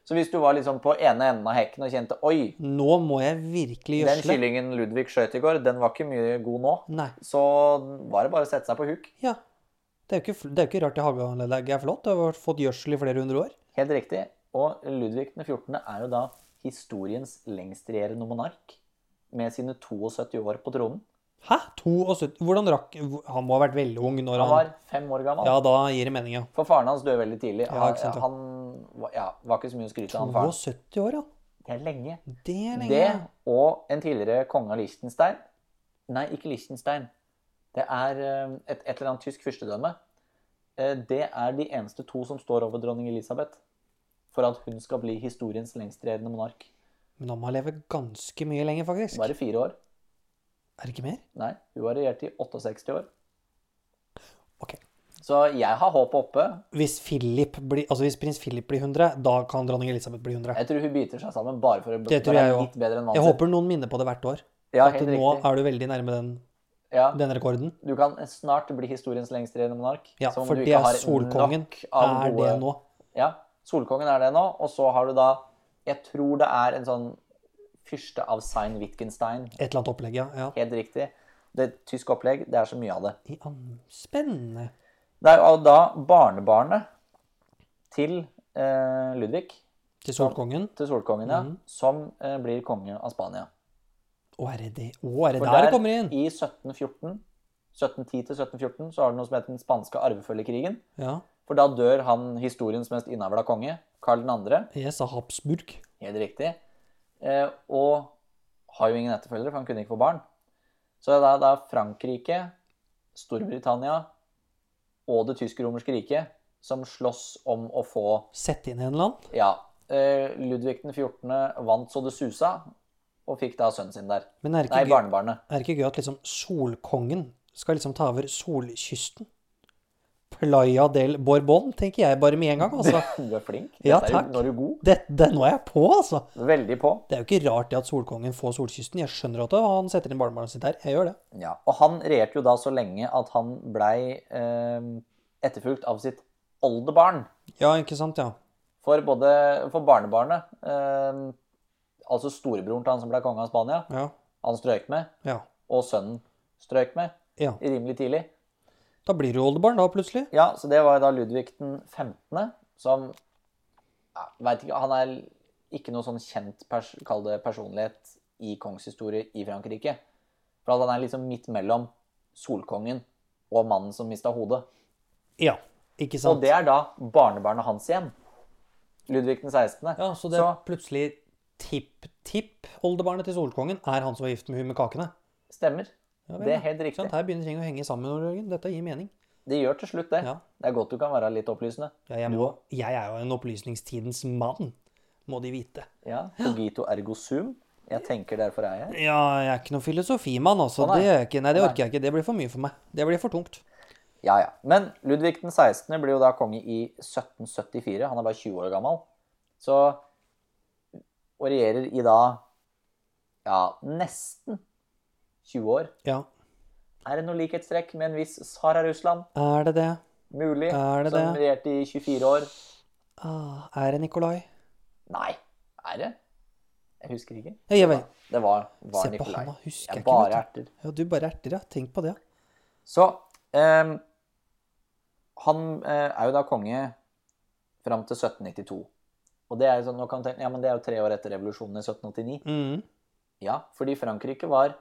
A: Så hvis du var liksom på ene enden av hekken og kjente Oi,
B: Nå må jeg virkelig
A: Den
B: gjødsle.
A: kyllingen Ludvig skjøt i går, den var ikke mye god nå.
B: Nei.
A: Så var det bare å sette seg på huk.
B: Ja. Det er jo ikke, fl- det er jo ikke rart det hageanlegget er flott. Det har vært- fått gjødsel i flere hundre år.
A: Helt riktig. Og Ludvig den 14. er jo da historiens lengstregjerende monark. Med sine 72 år på tronen.
B: Hæ? 72 Hvordan rakk Han må ha vært veldig ung når
A: Han
B: han,
A: var fem år gammel.
B: Ja, da gir det mening, ja.
A: For faren hans døde veldig tidlig.
B: Ja, ikke
A: han
B: sant, ja.
A: han var- ja, var ikke så mye å skryte av, han faren.
B: 72 år, ja.
A: Det er lenge.
B: Det er lenge.
A: Det og en tidligere konge av Liechtenstein Nei, ikke Liechtenstein. Det er eh, et, et eller annet tysk fyrstedømme. Eh, Det er de eneste to som står over dronning Elisabeth for at hun skal bli historiens lengstregjerende monark.
B: Men han må ha levd ganske mye lenger, faktisk.
A: Bare fire år.
B: Er det ikke mer?
A: Nei, hun har regjert i 68 år.
B: Ok.
A: Så jeg har håpet oppe.
B: Hvis, Philip blir, altså hvis prins Philip blir 100, da kan dronning Elisabeth bli 100.
A: Jeg tror hun biter seg sammen bare for å
B: Det tror
A: være
B: jeg
A: litt bedre enn
B: Jeg
A: mannen sin.
B: håper noen minner på det hvert år.
A: Ja,
B: at
A: helt
B: nå
A: riktig.
B: er du veldig nærme den,
A: Ja,
B: den rekorden.
A: du kan snart bli historiens lengstregjerende monark.
B: Ja,
A: som om
B: for
A: du
B: det
A: ikke
B: er
A: har
B: solkongen.
A: nok av
B: Er det
A: gode-
B: nå?
A: Ja, Solkongen er det nå. Og så har du da Jeg tror det er en sånn fyrste av Sein Wittgenstein.
B: Et eller annet opplegg, ja. ja.
A: Helt riktig. Det er et tysk opplegg. Det er så mye av det.
B: I an- Spennende.
A: Det er jo da barnebarnet til eh, Ludvig,
B: Til solkongen.
A: til Solkongen, ja, som eh, blir konge av Spania.
B: Å, er det det? Å, er det
A: For
B: der det kommer inn?
A: I 1714, 1710 til 1714, så har du noe som heter den spanske arvefølgekrigen.
B: Ja.
A: For da dør han historiens mest innavla konge, Karl 2.
B: Jeg sa Habsburg.
A: Helt riktig. Eh, og har jo ingen etterfølgere, for han kunne ikke få barn. Så det er da Frankrike, Storbritannia og det tysk-romerske riket som slåss om å få
B: Sett inn en eller annen.
A: Ja, eh, Ludvig den 14. vant så det susa, og fikk da sønnen sin der.
B: Men er det
A: Nei,
B: ikke, gøy,
A: barnebarnet.
B: er det ikke gøy at liksom solkongen skal liksom ta over solkysten? Playa del Borbón, tenker jeg bare med en gang, altså.
A: Du er flink.
B: Ja,
A: Dette er jo-
B: takk.
A: Nå er du god.
B: Det, det, nå er jeg på, altså.
A: Veldig på.
B: Det er jo ikke rart det at solkongen får solkysten. Jeg skjønner at han setter inn barnebarnet sitt der. Jeg gjør det.
A: Ja, og han regjerte jo da så lenge at han blei eh, etterfulgt av sitt oldebarn.
B: Ja, ikke sant, ja.
A: For både for barnebarnet, eh, altså storebroren til han som ble konge av Spania,
B: Ja.
A: han strøyk med,
B: ja.
A: og sønnen strøyk med
B: ja.
A: rimelig tidlig.
B: Da blir du oldebarn, da, plutselig.
A: Ja, så det var jo da Ludvig den 15., som ja, vet ikke, Han er ikke noe sånn kjent pers kall det personlighet i kongshistorie i Frankrike. For at han er liksom midt mellom solkongen og mannen som mista hodet.
B: Ja, ikke
A: Og
B: sant?
A: det er da barnebarnet hans igjen. Ludvig den 16.
B: ja, så det er plutselig tipp-tipp-oldebarnet til solkongen er han som var gift med hun med kakene.
A: stemmer.
B: Ja, vel,
A: det
B: ja.
A: er helt
B: Ikke
A: riktig.
B: sant? Her begynner ting å henge sammen. Jørgen. Dette gir mening.
A: Det gjør til slutt det.
B: Ja.
A: Det er godt du kan være litt opplysende.
B: Ja, jeg, må, jeg er jo en opplysningstidens mann, må de vite.
A: Ja. Cogito ergo sum. Jeg tenker derfor er jeg her.
B: Ja, jeg er ikke noen filosofimann, altså.
A: Å, nei.
B: Det, er jeg ikke, nei, det
A: Nei.
B: orker jeg ikke. Det blir for mye for meg. Det blir for tungt.
A: Ja, ja. Men Ludvig den 16. blir jo da konge i 1774. Han er bare 20 år gammel. Så Og regjerer i da ja, nesten 20 år.
B: Ja.
A: Er det noe likhetstrekk med en viss Sara Russland?
B: Er det det?
A: Mulig.
B: Er det
A: som
B: det?
A: regjerte i 24 år.
B: Ah, er det Nikolai?
A: Nei, er det? Jeg husker ikke.
B: Ja, jeg vet.
A: Det var, var
B: Se på
A: Nikolai.
B: han, da. Husker
A: Jeg
B: jeg
A: er
B: ikke.
A: bare
B: vet du.
A: erter.
B: Ja, du bare erter, ja. Tenk på det.
A: Så ehm, Han eh, er jo da konge fram til 1792. Og det er jo sånn, nå kan man tenke, ja, men det er jo tre år etter revolusjonen i 1789.
B: Mm.
A: Ja, fordi Frankrike var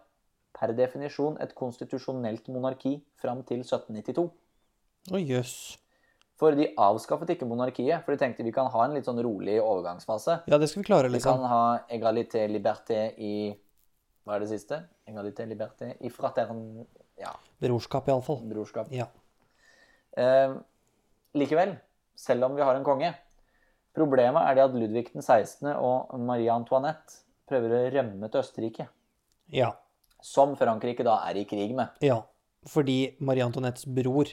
A: per definisjon et konstitusjonelt monarki fram til 1792.
B: Å, jøss.
A: For de avskaffet ikke monarkiet, for de tenkte vi kan ha en litt sånn rolig overgangsfase.
B: Ja, det skal vi klare,
A: Vi kan
B: liksom.
A: ha egalité liberté i Hva er det siste? Egalité liberté i fratern... Ja,
B: Brorskap, iallfall.
A: brorskap.
B: Ja.
A: Eh, likevel, selv om vi har en konge Problemet er det at Ludvig den 16. og Marie Antoinette prøver å rømme til Østerrike,
B: Ja.
A: som Frankrike da er i krig med.
B: Ja. Fordi Marie Antoinettes bror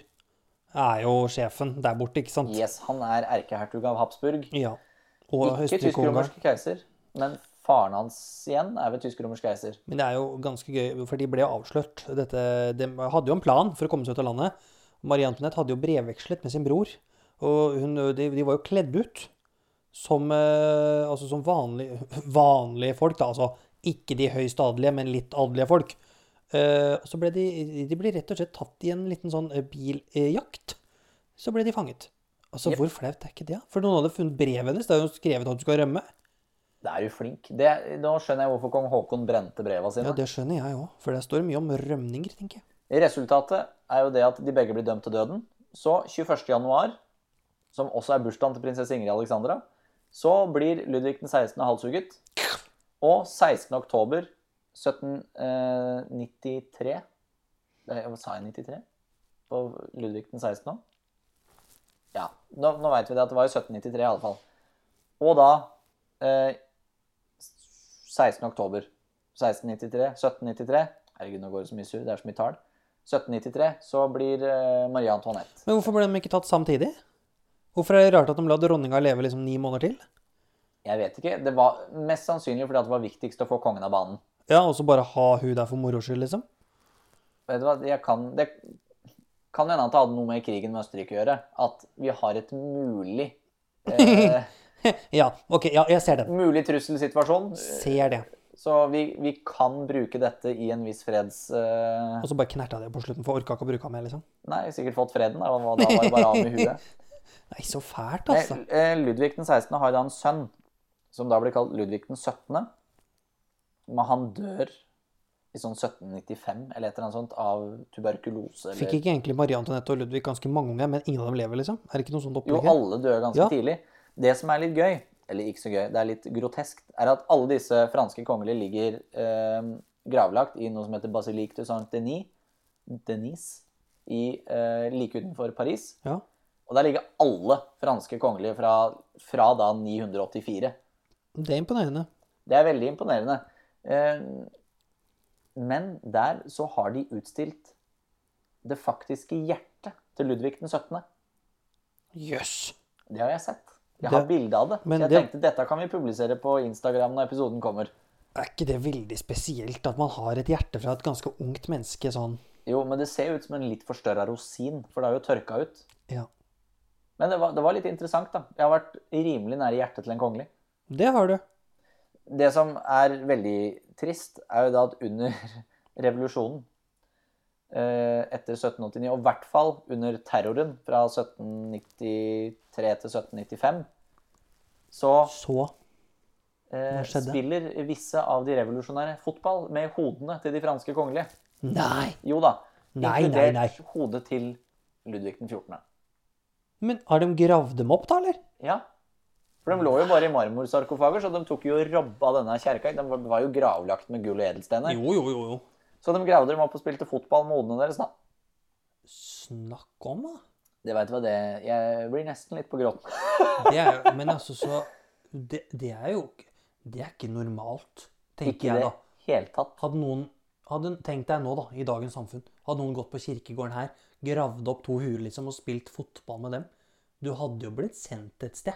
B: er jo sjefen der borte, ikke sant?
A: Yes, han er erkehertug av Habsburg.
B: Ja. Og
A: Ikke
B: Østerrike-Ungarn.
A: tysk-romersk keiser, men faren hans igjen er vel tysk-romersk keiser.
B: Men det er jo ganske gøy, for de ble avslørt. Dette, de hadde jo en plan for å komme seg ut av landet. Marie Antoinette hadde jo brevvekslet med sin bror. Og hun, de, de var jo kledd ut som, eh, altså som vanlige, vanlige folk, da. Altså ikke de høyst adelige, men litt adelige folk. Eh, og så ble de, de ble rett og slett tatt i en liten sånn eh, biljakt. Så ble de fanget. Altså,
A: Jep.
B: Hvor flaut er ikke det? da? For noen hadde funnet brevet hennes. Det er jo skrevet at du skal rømme.
A: Det er jo flink. Det, nå skjønner jeg hvorfor kong Haakon brente breva sine.
B: Ja, Det skjønner jeg òg, for det står mye om rømninger, tenker jeg.
A: Resultatet er jo det at de begge blir dømt til døden. Så 21. januar, som også er bursdagen til prinsesse Ingrid Alexandra, så blir Ludvig den 16. halshugget. Og 16. oktober 1793 eh, Hva sa jeg 93? På Ludvig den 16. nå? Ja, nå, nå veit vi det at det var i 1793 i alle fall. Og da eh, 16. oktober 1693, 1793 Herregud, nå går det så mye surr. Det er så mye tall. 1793 så blir eh, Marie Antoinette.
B: Men hvorfor ble de ikke tatt samtidig? Hvorfor er det rart at de la dronninga leve liksom ni måneder til?
A: Jeg vet ikke. Det var mest sannsynlig fordi at det var viktigst å få kongen av banen.
B: Ja, og så bare ha hun der for moro skyld, liksom?
A: Vet du hva, jeg kan, Det kan hende at det hadde noe med krigen med Østerrike å gjøre. At vi har et mulig eh,
B: Ja, ok, ja, jeg ser den.
A: mulig trusselsituasjon.
B: Ser det.
A: Så vi, vi kan bruke dette i en viss freds... eh,
B: Og så bare knerta det på slutten, for orka ikke å bruke ham mer, liksom.
A: nei, sikkert fått freden. Da, og da var det bare av med huet.
B: Nei, så fælt,
A: Nei,
B: altså.
A: eh, Ludvig den 16. har da en sønn, som da blir kalt Ludvig den 17. Men han dør i sånn 1795 eller et eller annet sånt av tuberkulose. Eller...
B: Fikk ikke egentlig Marie Antoinette og Ludvig ganske mange unger, men ingen av dem lever, liksom? Er det ikke noe sånt
A: Jo,
B: opplegg? her?
A: alle dør ganske
B: Ja.
A: tidlig. Det som er litt gøy, eller ikke så gøy, det er litt groteskt, er at alle disse franske kongelige ligger eh, gravlagt i noe som heter Basilique de Saint-Denis, Denis, i, eh, like utenfor Paris.
B: Ja.
A: Og der ligger alle franske kongelige fra, fra da 984.
B: Det er imponerende.
A: Det er veldig imponerende. Eh, Men der så har de utstilt det faktiske hjertet til Ludvig den 17.
B: Jøss.
A: Det har jeg sett. Jeg har
B: Det-
A: bilde av det.
B: men
A: så jeg
B: det-
A: tenkte dette kan vi publisere på Instagram når episoden kommer.
B: Er ikke det veldig spesielt at man har et hjerte fra et ganske ungt menneske sånn?
A: Jo, men det ser ut som en litt forstørra rosin, for det har jo tørka ut.
B: Ja.
A: Men det var, det var litt interessant, da. Jeg har vært rimelig nære hjertet til en kongelig.
B: Det har du.
A: Det som er veldig trist, er jo da at under revolusjonen eh, etter 1789, og i hvert fall under terroren fra 1793 til 1795, så
B: Så
A: eh,
B: Hva skjedde?
A: spiller visse av de revolusjonære fotball med hodene til de franske kongelige.
B: Nei!
A: Jo da.
B: Nei, nei,
A: inkludert
B: nei.
A: hodet til Ludvig den 14.
B: Men har de gravd dem opp, da, eller?
A: Ja. For de lå jo bare i marmorsarkofager, så de tok jo og robba denne kjerka. De var- var jo gravlagt med gull og edelstener.
B: Jo, jo, jo, jo.
A: Så de gravde dem opp og spilte fotball med hodene deres, da.
B: Snakk om, da.
A: Det vet du hva det Jeg blir nesten litt på gråten.
B: Det er, jo- men altså, så det, det er jo ikke- Det er ikke normalt. tenker
A: Ikke i
B: jeg
A: det
B: da.
A: hele tatt.
B: Hadde noen hadde, Tenk deg nå, da, i dagens samfunn. Hadde noen gått på kirkegården her, gravd opp to huer liksom, og spilt fotball med dem, du hadde jo blitt sendt et sted.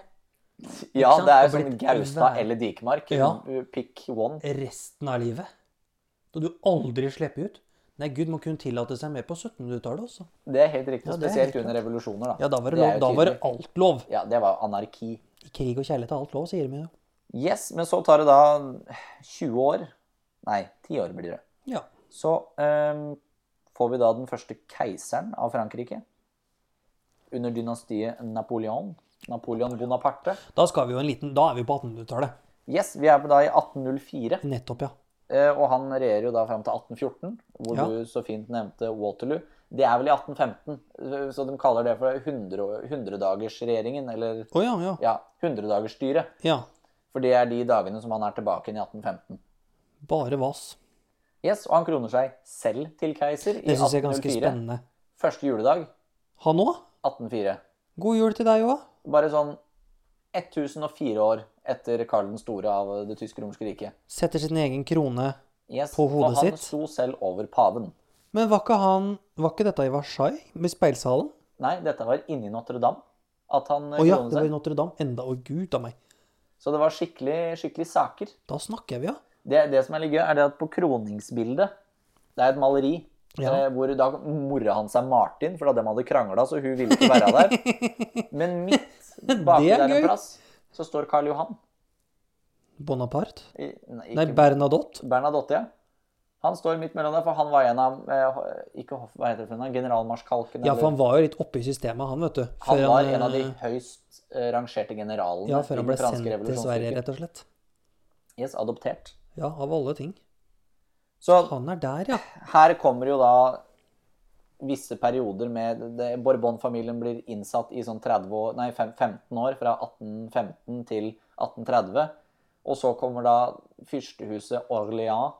A: Ja,
B: sant?
A: det er jo
B: Det er
A: sånn
B: blitt
A: Gaustad
B: vær-
A: eller Dikemark.
B: Ja.
A: Pick one.
B: Resten av livet. Da du aldri slipper ut. Nei, gud, man kunne tillate seg mer på 1700-tallet også.
A: Det er helt riktig.
B: Ja, det er helt
A: spesielt under revolusjoner, da.
B: Ja, da var det,
A: Det er jo
B: lov, da var det
A: tydelig.
B: alt lov.
A: Ja, det var anarki.
B: I krig og kjærlighet er alt lov, sier de jo.
A: Yes, men så tar det da 20 år Nei, 10 år blir det.
B: Ja.
A: Så ehm, får vi da den første keiseren av Frankrike. Under dynastiet Napoleon. Napoleon Bonaparte.
B: Da, skal vi jo en liten, da er vi på 1800-tallet.
A: Yes, vi er da i 1804.
B: Nettopp, ja.
A: eh, Og han regjerer jo da fram til 1814, hvor
B: Ja.
A: du så fint nevnte Waterloo. Det er vel i 1815, eh, så de kaller det for 100 100-dagersregjeringen. Eller
B: Å ja, ja.
A: ja, 100-dagersstyret.
B: ja.
A: For det er de dagene som han er tilbake igjen i 1815.
B: Bare vas.
A: Yes, Og han kroner seg selv til keiser i
B: Det syns jeg er ganske
A: 1804.
B: spennende.
A: Første juledag
B: Han òg?
A: 1804.
B: God jul til deg òg.
A: Bare sånn 1004 år etter Karl den store av det tysk-romerske riket.
B: Setter sin egen krone.
A: Yes,
B: På hodet
A: for han
B: sitt?
A: sto selv over paven.
B: Men var ikke, han, var ikke dette i Versailles, med speilsalen?
A: Nei, dette var inni Notre-Dame at han
B: Å ja,
A: kronet
B: det var i
A: seg.
B: Notre-Dame. Enda Å gud a meg.
A: Så det var skikkelig, skikkelig saker.
B: Da snakker vi, ja.
A: Det, det som er litt gøy, er det at på kroningsbildet Det er et maleri
B: Ja.
A: eh, hvor da mora hans er Martin, for da de hadde krangla, så hun ville ikke være der. Men midt baki
B: Det er
A: der
B: gøy.
A: en plass så står Karl Johan.
B: Bonaparte?
A: I, nei,
B: Nei,
A: ikke-
B: Bernadotte?
A: Bernadotte, ja. Han står midt mellom der, for han var en av eh, ikke, hoff- hva heter det for noe, generalmarskalken.
B: Ja,
A: eller-
B: for han var jo litt oppe i systemet, han, vet du.
A: han
B: før
A: var en av de
B: eh,
A: høyst eh, rangerte generalene
B: Ja, før han
A: i
B: ble
A: den franske
B: sendt til Sverige,
A: revolusjonen.
B: rett og slett.
A: Yes, adoptert.
B: Ja, av alle ting.
A: Så
B: Han er der, ja.
A: her kommer jo da visse perioder med det- Bourbon-familien blir innsatt i sånn 30 år, nei, fem- 15 år, fra 1815 til 1830. Og så kommer da fyrstehuset Orléans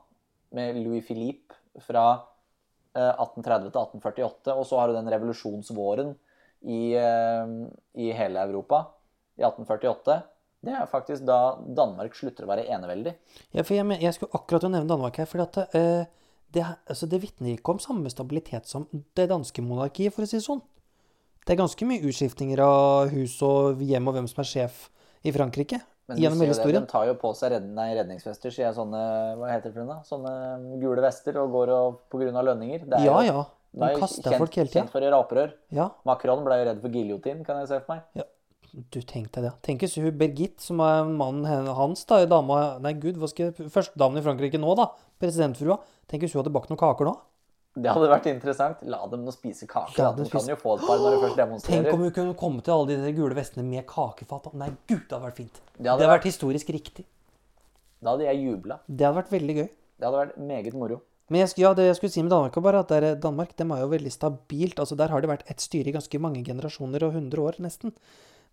A: med Louis Philippe fra eh, 1830 til 1848. Og så har du den revolusjonsvåren i, eh, i hele Europa i 1848. Det er faktisk da Danmark slutter å være eneveldig.
B: Ja, for jeg, men- jeg skulle akkurat jo nevne Danmark her, fordi at eh, det, er- altså, det vitner ikke om samme stabilitet som det danske monarkiet, for å si det sånn. Det er ganske mye utskiftinger av hus og hjem og hvem som er sjef i Frankrike
A: Men du
B: gjennom
A: ser jo
B: hele
A: det,
B: historien.
A: de tar jo på seg redden, nei, redningsvester, sier jeg sånne Hva heter det for noe? da? Sånne gule vester og går og på grunn av lønninger. Det er jo-
B: Ja, ja.
A: det er
B: De
A: jo
B: kaster
A: kjent-
B: folk hele tida.
A: Kjent for å gjøre opprør.
B: Ja,
A: Macron ble jo redd for giljotin, kan jeg se for meg.
B: du tenk deg det. Tenk hvis hun Birgitte, som er mannen hen- hans, da, dama Nei, gud, hva skal jeg Førstedamen i Frankrike nå, da. Presidentfrua. Tenk hvis hun hadde bakt noen kaker nå.
A: Det hadde vært interessant. La dem nå spise kake.
B: Ja,
A: da. de
B: det
A: kan
B: spis-
A: jo få et par når de først demonstrerer.
B: Tenk om hun kunne komme til alle de der gule vestene med kakefat. Nei, gud, det hadde vært fint. Det
A: hadde
B: hadde vært historisk riktig.
A: Da hadde jeg jubla.
B: Det hadde vært veldig gøy.
A: Det hadde vært meget moro.
B: Men jeg, sk- ja, det jeg skulle si med Danmark, var bare at der, eh, Danmark dem er jo veldig stabilt. altså Der har det vært ett styre i ganske mange generasjoner og 100 år, nesten.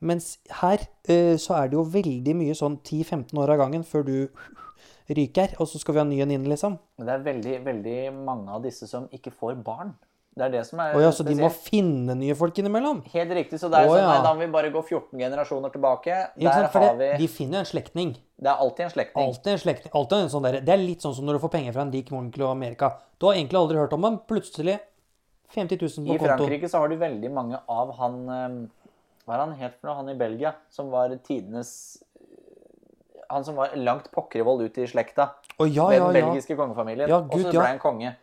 B: Mens her eh, så er det jo veldig mye sånn 10-15 år av gangen før du ryker, og så skal vi ha ny en inn, liksom.
A: Men det er veldig, veldig mange av disse som ikke får barn. Det er det som er
B: Og ja, Så de må
A: spesielt.
B: finne nye folk innimellom?
A: Helt riktig. Så det er
B: Å,
A: sånn,
B: ja.
A: nei, da må vi bare gå 14 generasjoner tilbake. Der
B: Ikke sant? For
A: har
B: det,
A: vi
B: de finner jo en slektning.
A: Det er alltid en slektning.
B: Alltid en slektning. Alltid en sånn der, det er litt sånn som når du får penger fra en rik onkel i Amerika. Du har egentlig aldri hørt om ham. Plutselig 50 000
A: I
B: på konto.
A: Frankrike så har de veldig mange av han eh, Hva er han helt for noe? Han i Belgia, som var tidenes eh, Han som var langt pokkervold ut i slekta
B: Å ja,
A: med
B: Ah, ja,
A: den
B: ja.
A: belgiske kongefamilien.
B: Ja,
A: og
B: gud,
A: så
B: ja.
A: ble han konge.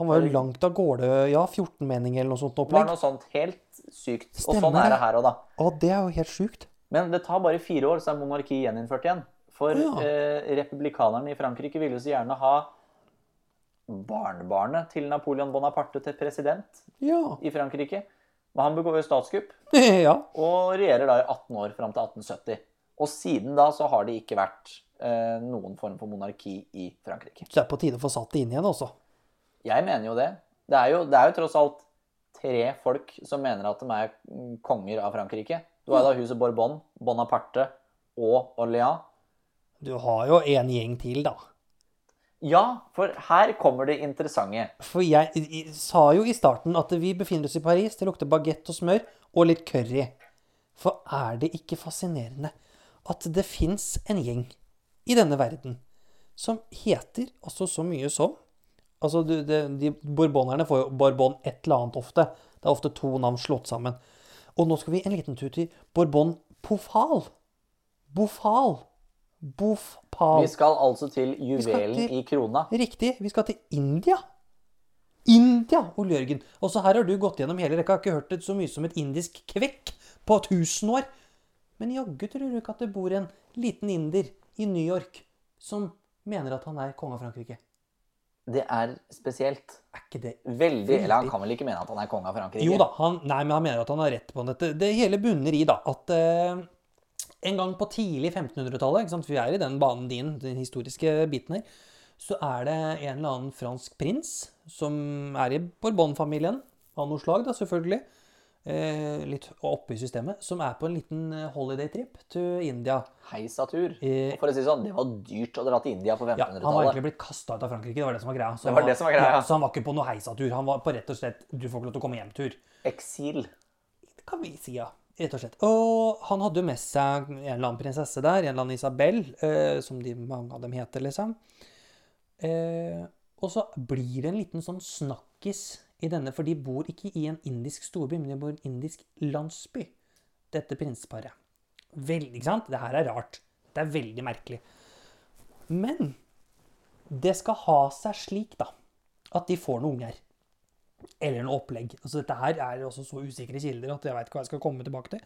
B: Han var jo langt av gårde. Ja, 14-mening eller noe sånt
A: Det var
B: opplegg.
A: noe sånt helt sykt.
B: Stemmer
A: og sånn
B: det.
A: er det her òg, da.
B: Å, det er jo helt sjukt.
A: Men det tar bare fire år, så er monarkiet gjeninnført igjen. For
B: Å, ja.
A: eh, republikanerne i Frankrike ville jo så gjerne ha barnebarnet til Napoleon Bonaparte til president
B: Ja.
A: i Frankrike. Men han begår jo statskupp.
B: ja.
A: og regjerer da i 18 år fram til 1870. Og siden da så har det ikke vært eh, noen form for monarki i Frankrike.
B: Så det er på tide å få satt det inn igjen, altså.
A: Jeg mener jo det. Det er jo, det er jo tross alt tre folk som mener at de er mm, konger av Frankrike. Du har da huset Bourbon, Bonaparte og Orléans.
B: Du har jo en gjeng til, da.
A: Ja, for her kommer det interessante.
B: For jeg, i- i- sa jo i starten at vi befinner oss i Paris. Det lukter baguette og smør og litt curry. For er det ikke fascinerende at det fins en gjeng i denne verden som heter altså så mye som Altså, du, det, de borbonerne får jo Borbon et eller annet ofte. Det er ofte to navn slått sammen. Og nå skal vi en liten tur til Borbon Pofal. Bofal. Bofpal.
A: Vi skal altså til juvelen
B: til-
A: i krona.
B: Riktig. Vi skal til India. India, Ole Jørgen. Også her har du gått gjennom hele rekka. Jeg har ikke hørt det så mye som et indisk kvekk på 1000 år. Men jaggu tror du ikke at det bor en liten inder i New York som mener at han er konge av Frankrike.
A: Det er spesielt.
B: Er ikke det
A: Veldig Eller han
B: Veldig.
A: kan vel ikke mene at han er konge av Frankrike?
B: Jo da, han, nei, men han mener at han har rett på dette. Det hele bunner i da, at eh, en gang på tidlig 1500-tallet, ikke sant, for vi er i den banen din, den historiske biten her, så er det en eller annen fransk prins som er i Bourbon-familien, av noe slag da, selvfølgelig, eh, litt oppe i systemet, som er på en liten eh, holiday-trip til India.
A: Heisatur.
B: Eh,
A: For å si det sånn, det var dyrt å dra til India på
B: ja, han var
A: 1500-tallet.
B: egentlig blitt kasta ut av Frankrike, det var det som var greia. Så
A: Det
B: han
A: var det som var greia, ja.
B: Så han var ikke på noe heisatur, han var på rett og slett 'du får ikke lov til å komme hjem'-tur.
A: Eksil.
B: Det kan vi si, ja. Rett og slett. Og han hadde jo med seg en eller annen prinsesse der, en eller annen Isabel, eh, som de, mange av dem heter, liksom. Eh, og så blir det en liten sånn snakkis i denne, for de bor ikke i en indisk storby, men de bor i en indisk landsby, dette prinsparet. Veldig, ikke sant? Det her er rart. Det er veldig merkelig. Men det skal ha seg slik, da, at de får noen unger eller noe opplegg. Altså dette her er også så usikre kilder at jeg veit ikke hva jeg skal komme tilbake til.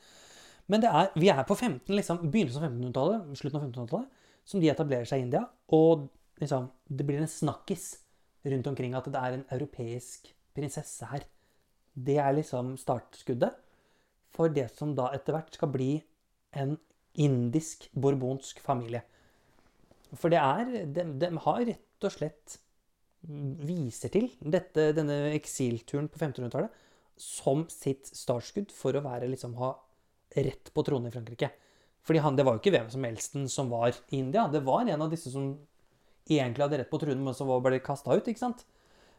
B: Men det er, vi er på 15, liksom, begynnelsen av 1500-tallet, slutten av 1500-tallet, som de etablerer seg i India. Og liksom, det blir en snakkis rundt omkring at det er en europeisk prinsesse her. Det er liksom startskuddet for det som da etter hvert skal bli en indisk borbonsk familie. For det er De, de har rett og slett mm, viser til dette, denne eksilturen på 1500-tallet som sitt startskudd for å være, liksom, ha rett på tronen i Frankrike. Fordi han, Det var jo ikke hvem som helst den som var i India. Det var en av disse som egentlig hadde rett på tronen, men som var- ble kasta ut. ikke sant?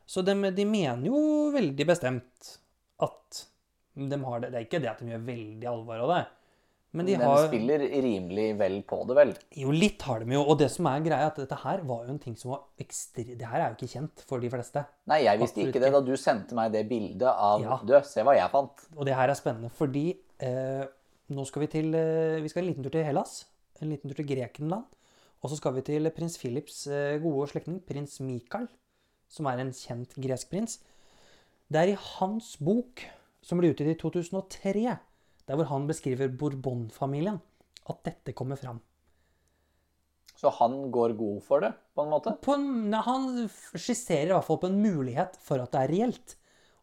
B: Så de, de mener jo veldig bestemt at de har det. Det er ikke det at de gjør veldig alvor av det. Men de
A: De
B: har
A: spiller rimelig vel på det, vel?
B: jo, litt har de jo. Og det som er greia, er at dette her var jo en ting som var ekstre... Det her er jo ikke kjent for de fleste.
A: Nei, jeg visste
B: Absolutt
A: ikke det da du sendte meg det bildet av
B: Ja.
A: Du, se hva jeg fant.
B: Og det her er spennende, fordi eh, nå skal vi til eh, Vi skal en liten tur til Hellas. En liten tur til Grekenland. Og så skal vi til prins Philips eh, gode slektning, prins Mikael, som er en kjent gresk prins. Det er i hans bok, som ble utgitt i 2003, der hvor han beskriver Bourbon-familien, at dette kommer fram.
A: Så han går god for det, på en måte?
B: på en, nei, han f- skisserer i hvert fall på en mulighet for at det er reelt.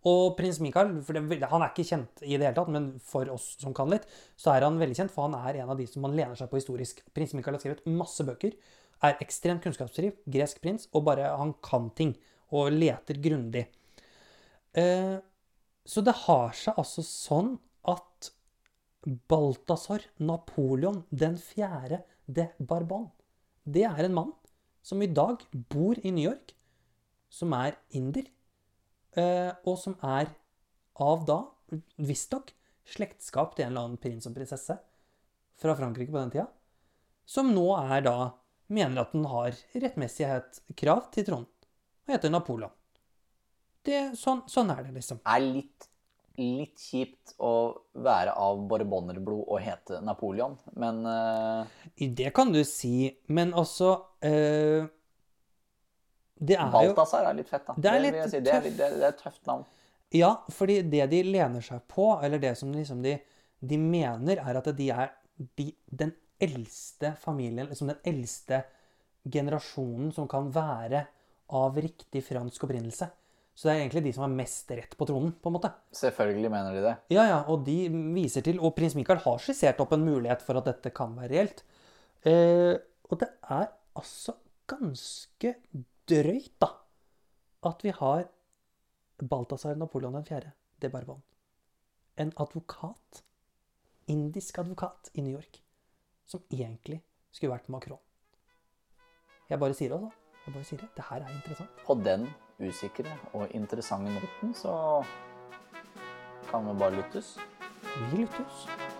B: Og prins Mikael for det, han er ikke kjent i det hele tatt, men for oss som kan litt, så er han veldig kjent, for han er en av de som man lener seg på historisk. Prins Mikael har skrevet masse bøker, er ekstremt kunnskapsdriv, gresk prins, og bare han kan ting, og leter grundig. Eh, så det har seg altså sånn at Balthazar Napoleon den fjerde de Barbon, det er en mann som i dag bor i New York, som er inder, eh, og som er av da, visstnok, slektskap til en eller annen prins og prinsesse fra Frankrike på den tida, som nå er da mener at den har rettmessighet krav til tronen, og heter Napoleon. Det, sånn, sånn er det, liksom.
A: Er litt, litt kjipt å være av borbonerblod og hete Napoleon, men eh,
B: I Det kan du si, men altså eh, Det er jo
A: Balthazar er litt fett, da.
B: Det er
A: vil
B: litt
A: jeg si. det, er,
B: tøff.
A: litt- det, er, det er et tøft navn.
B: Ja, fordi det de lener seg på, eller det som liksom de, de mener, er at de er de, den eldste familien, liksom den eldste generasjonen som kan være av riktig fransk opprinnelse. Så det er egentlig de som har mest rett på tronen, på en måte.
A: Selvfølgelig mener de det.
B: Ja, ja, og de viser til, og prins Mikael har skissert opp en mulighet for at dette kan være reelt. Eh, og det er altså ganske drøyt, da, at vi har Balthazar Napoleon 4. de Barbon. En advokat, indisk advokat i New York, som egentlig skulle vært Macron. Jeg bare sier det, altså. Jeg bare sier det. Det her er interessant.
A: På den usikre og interessante noten så kan vi bare lyttes.
B: Vi lyttes.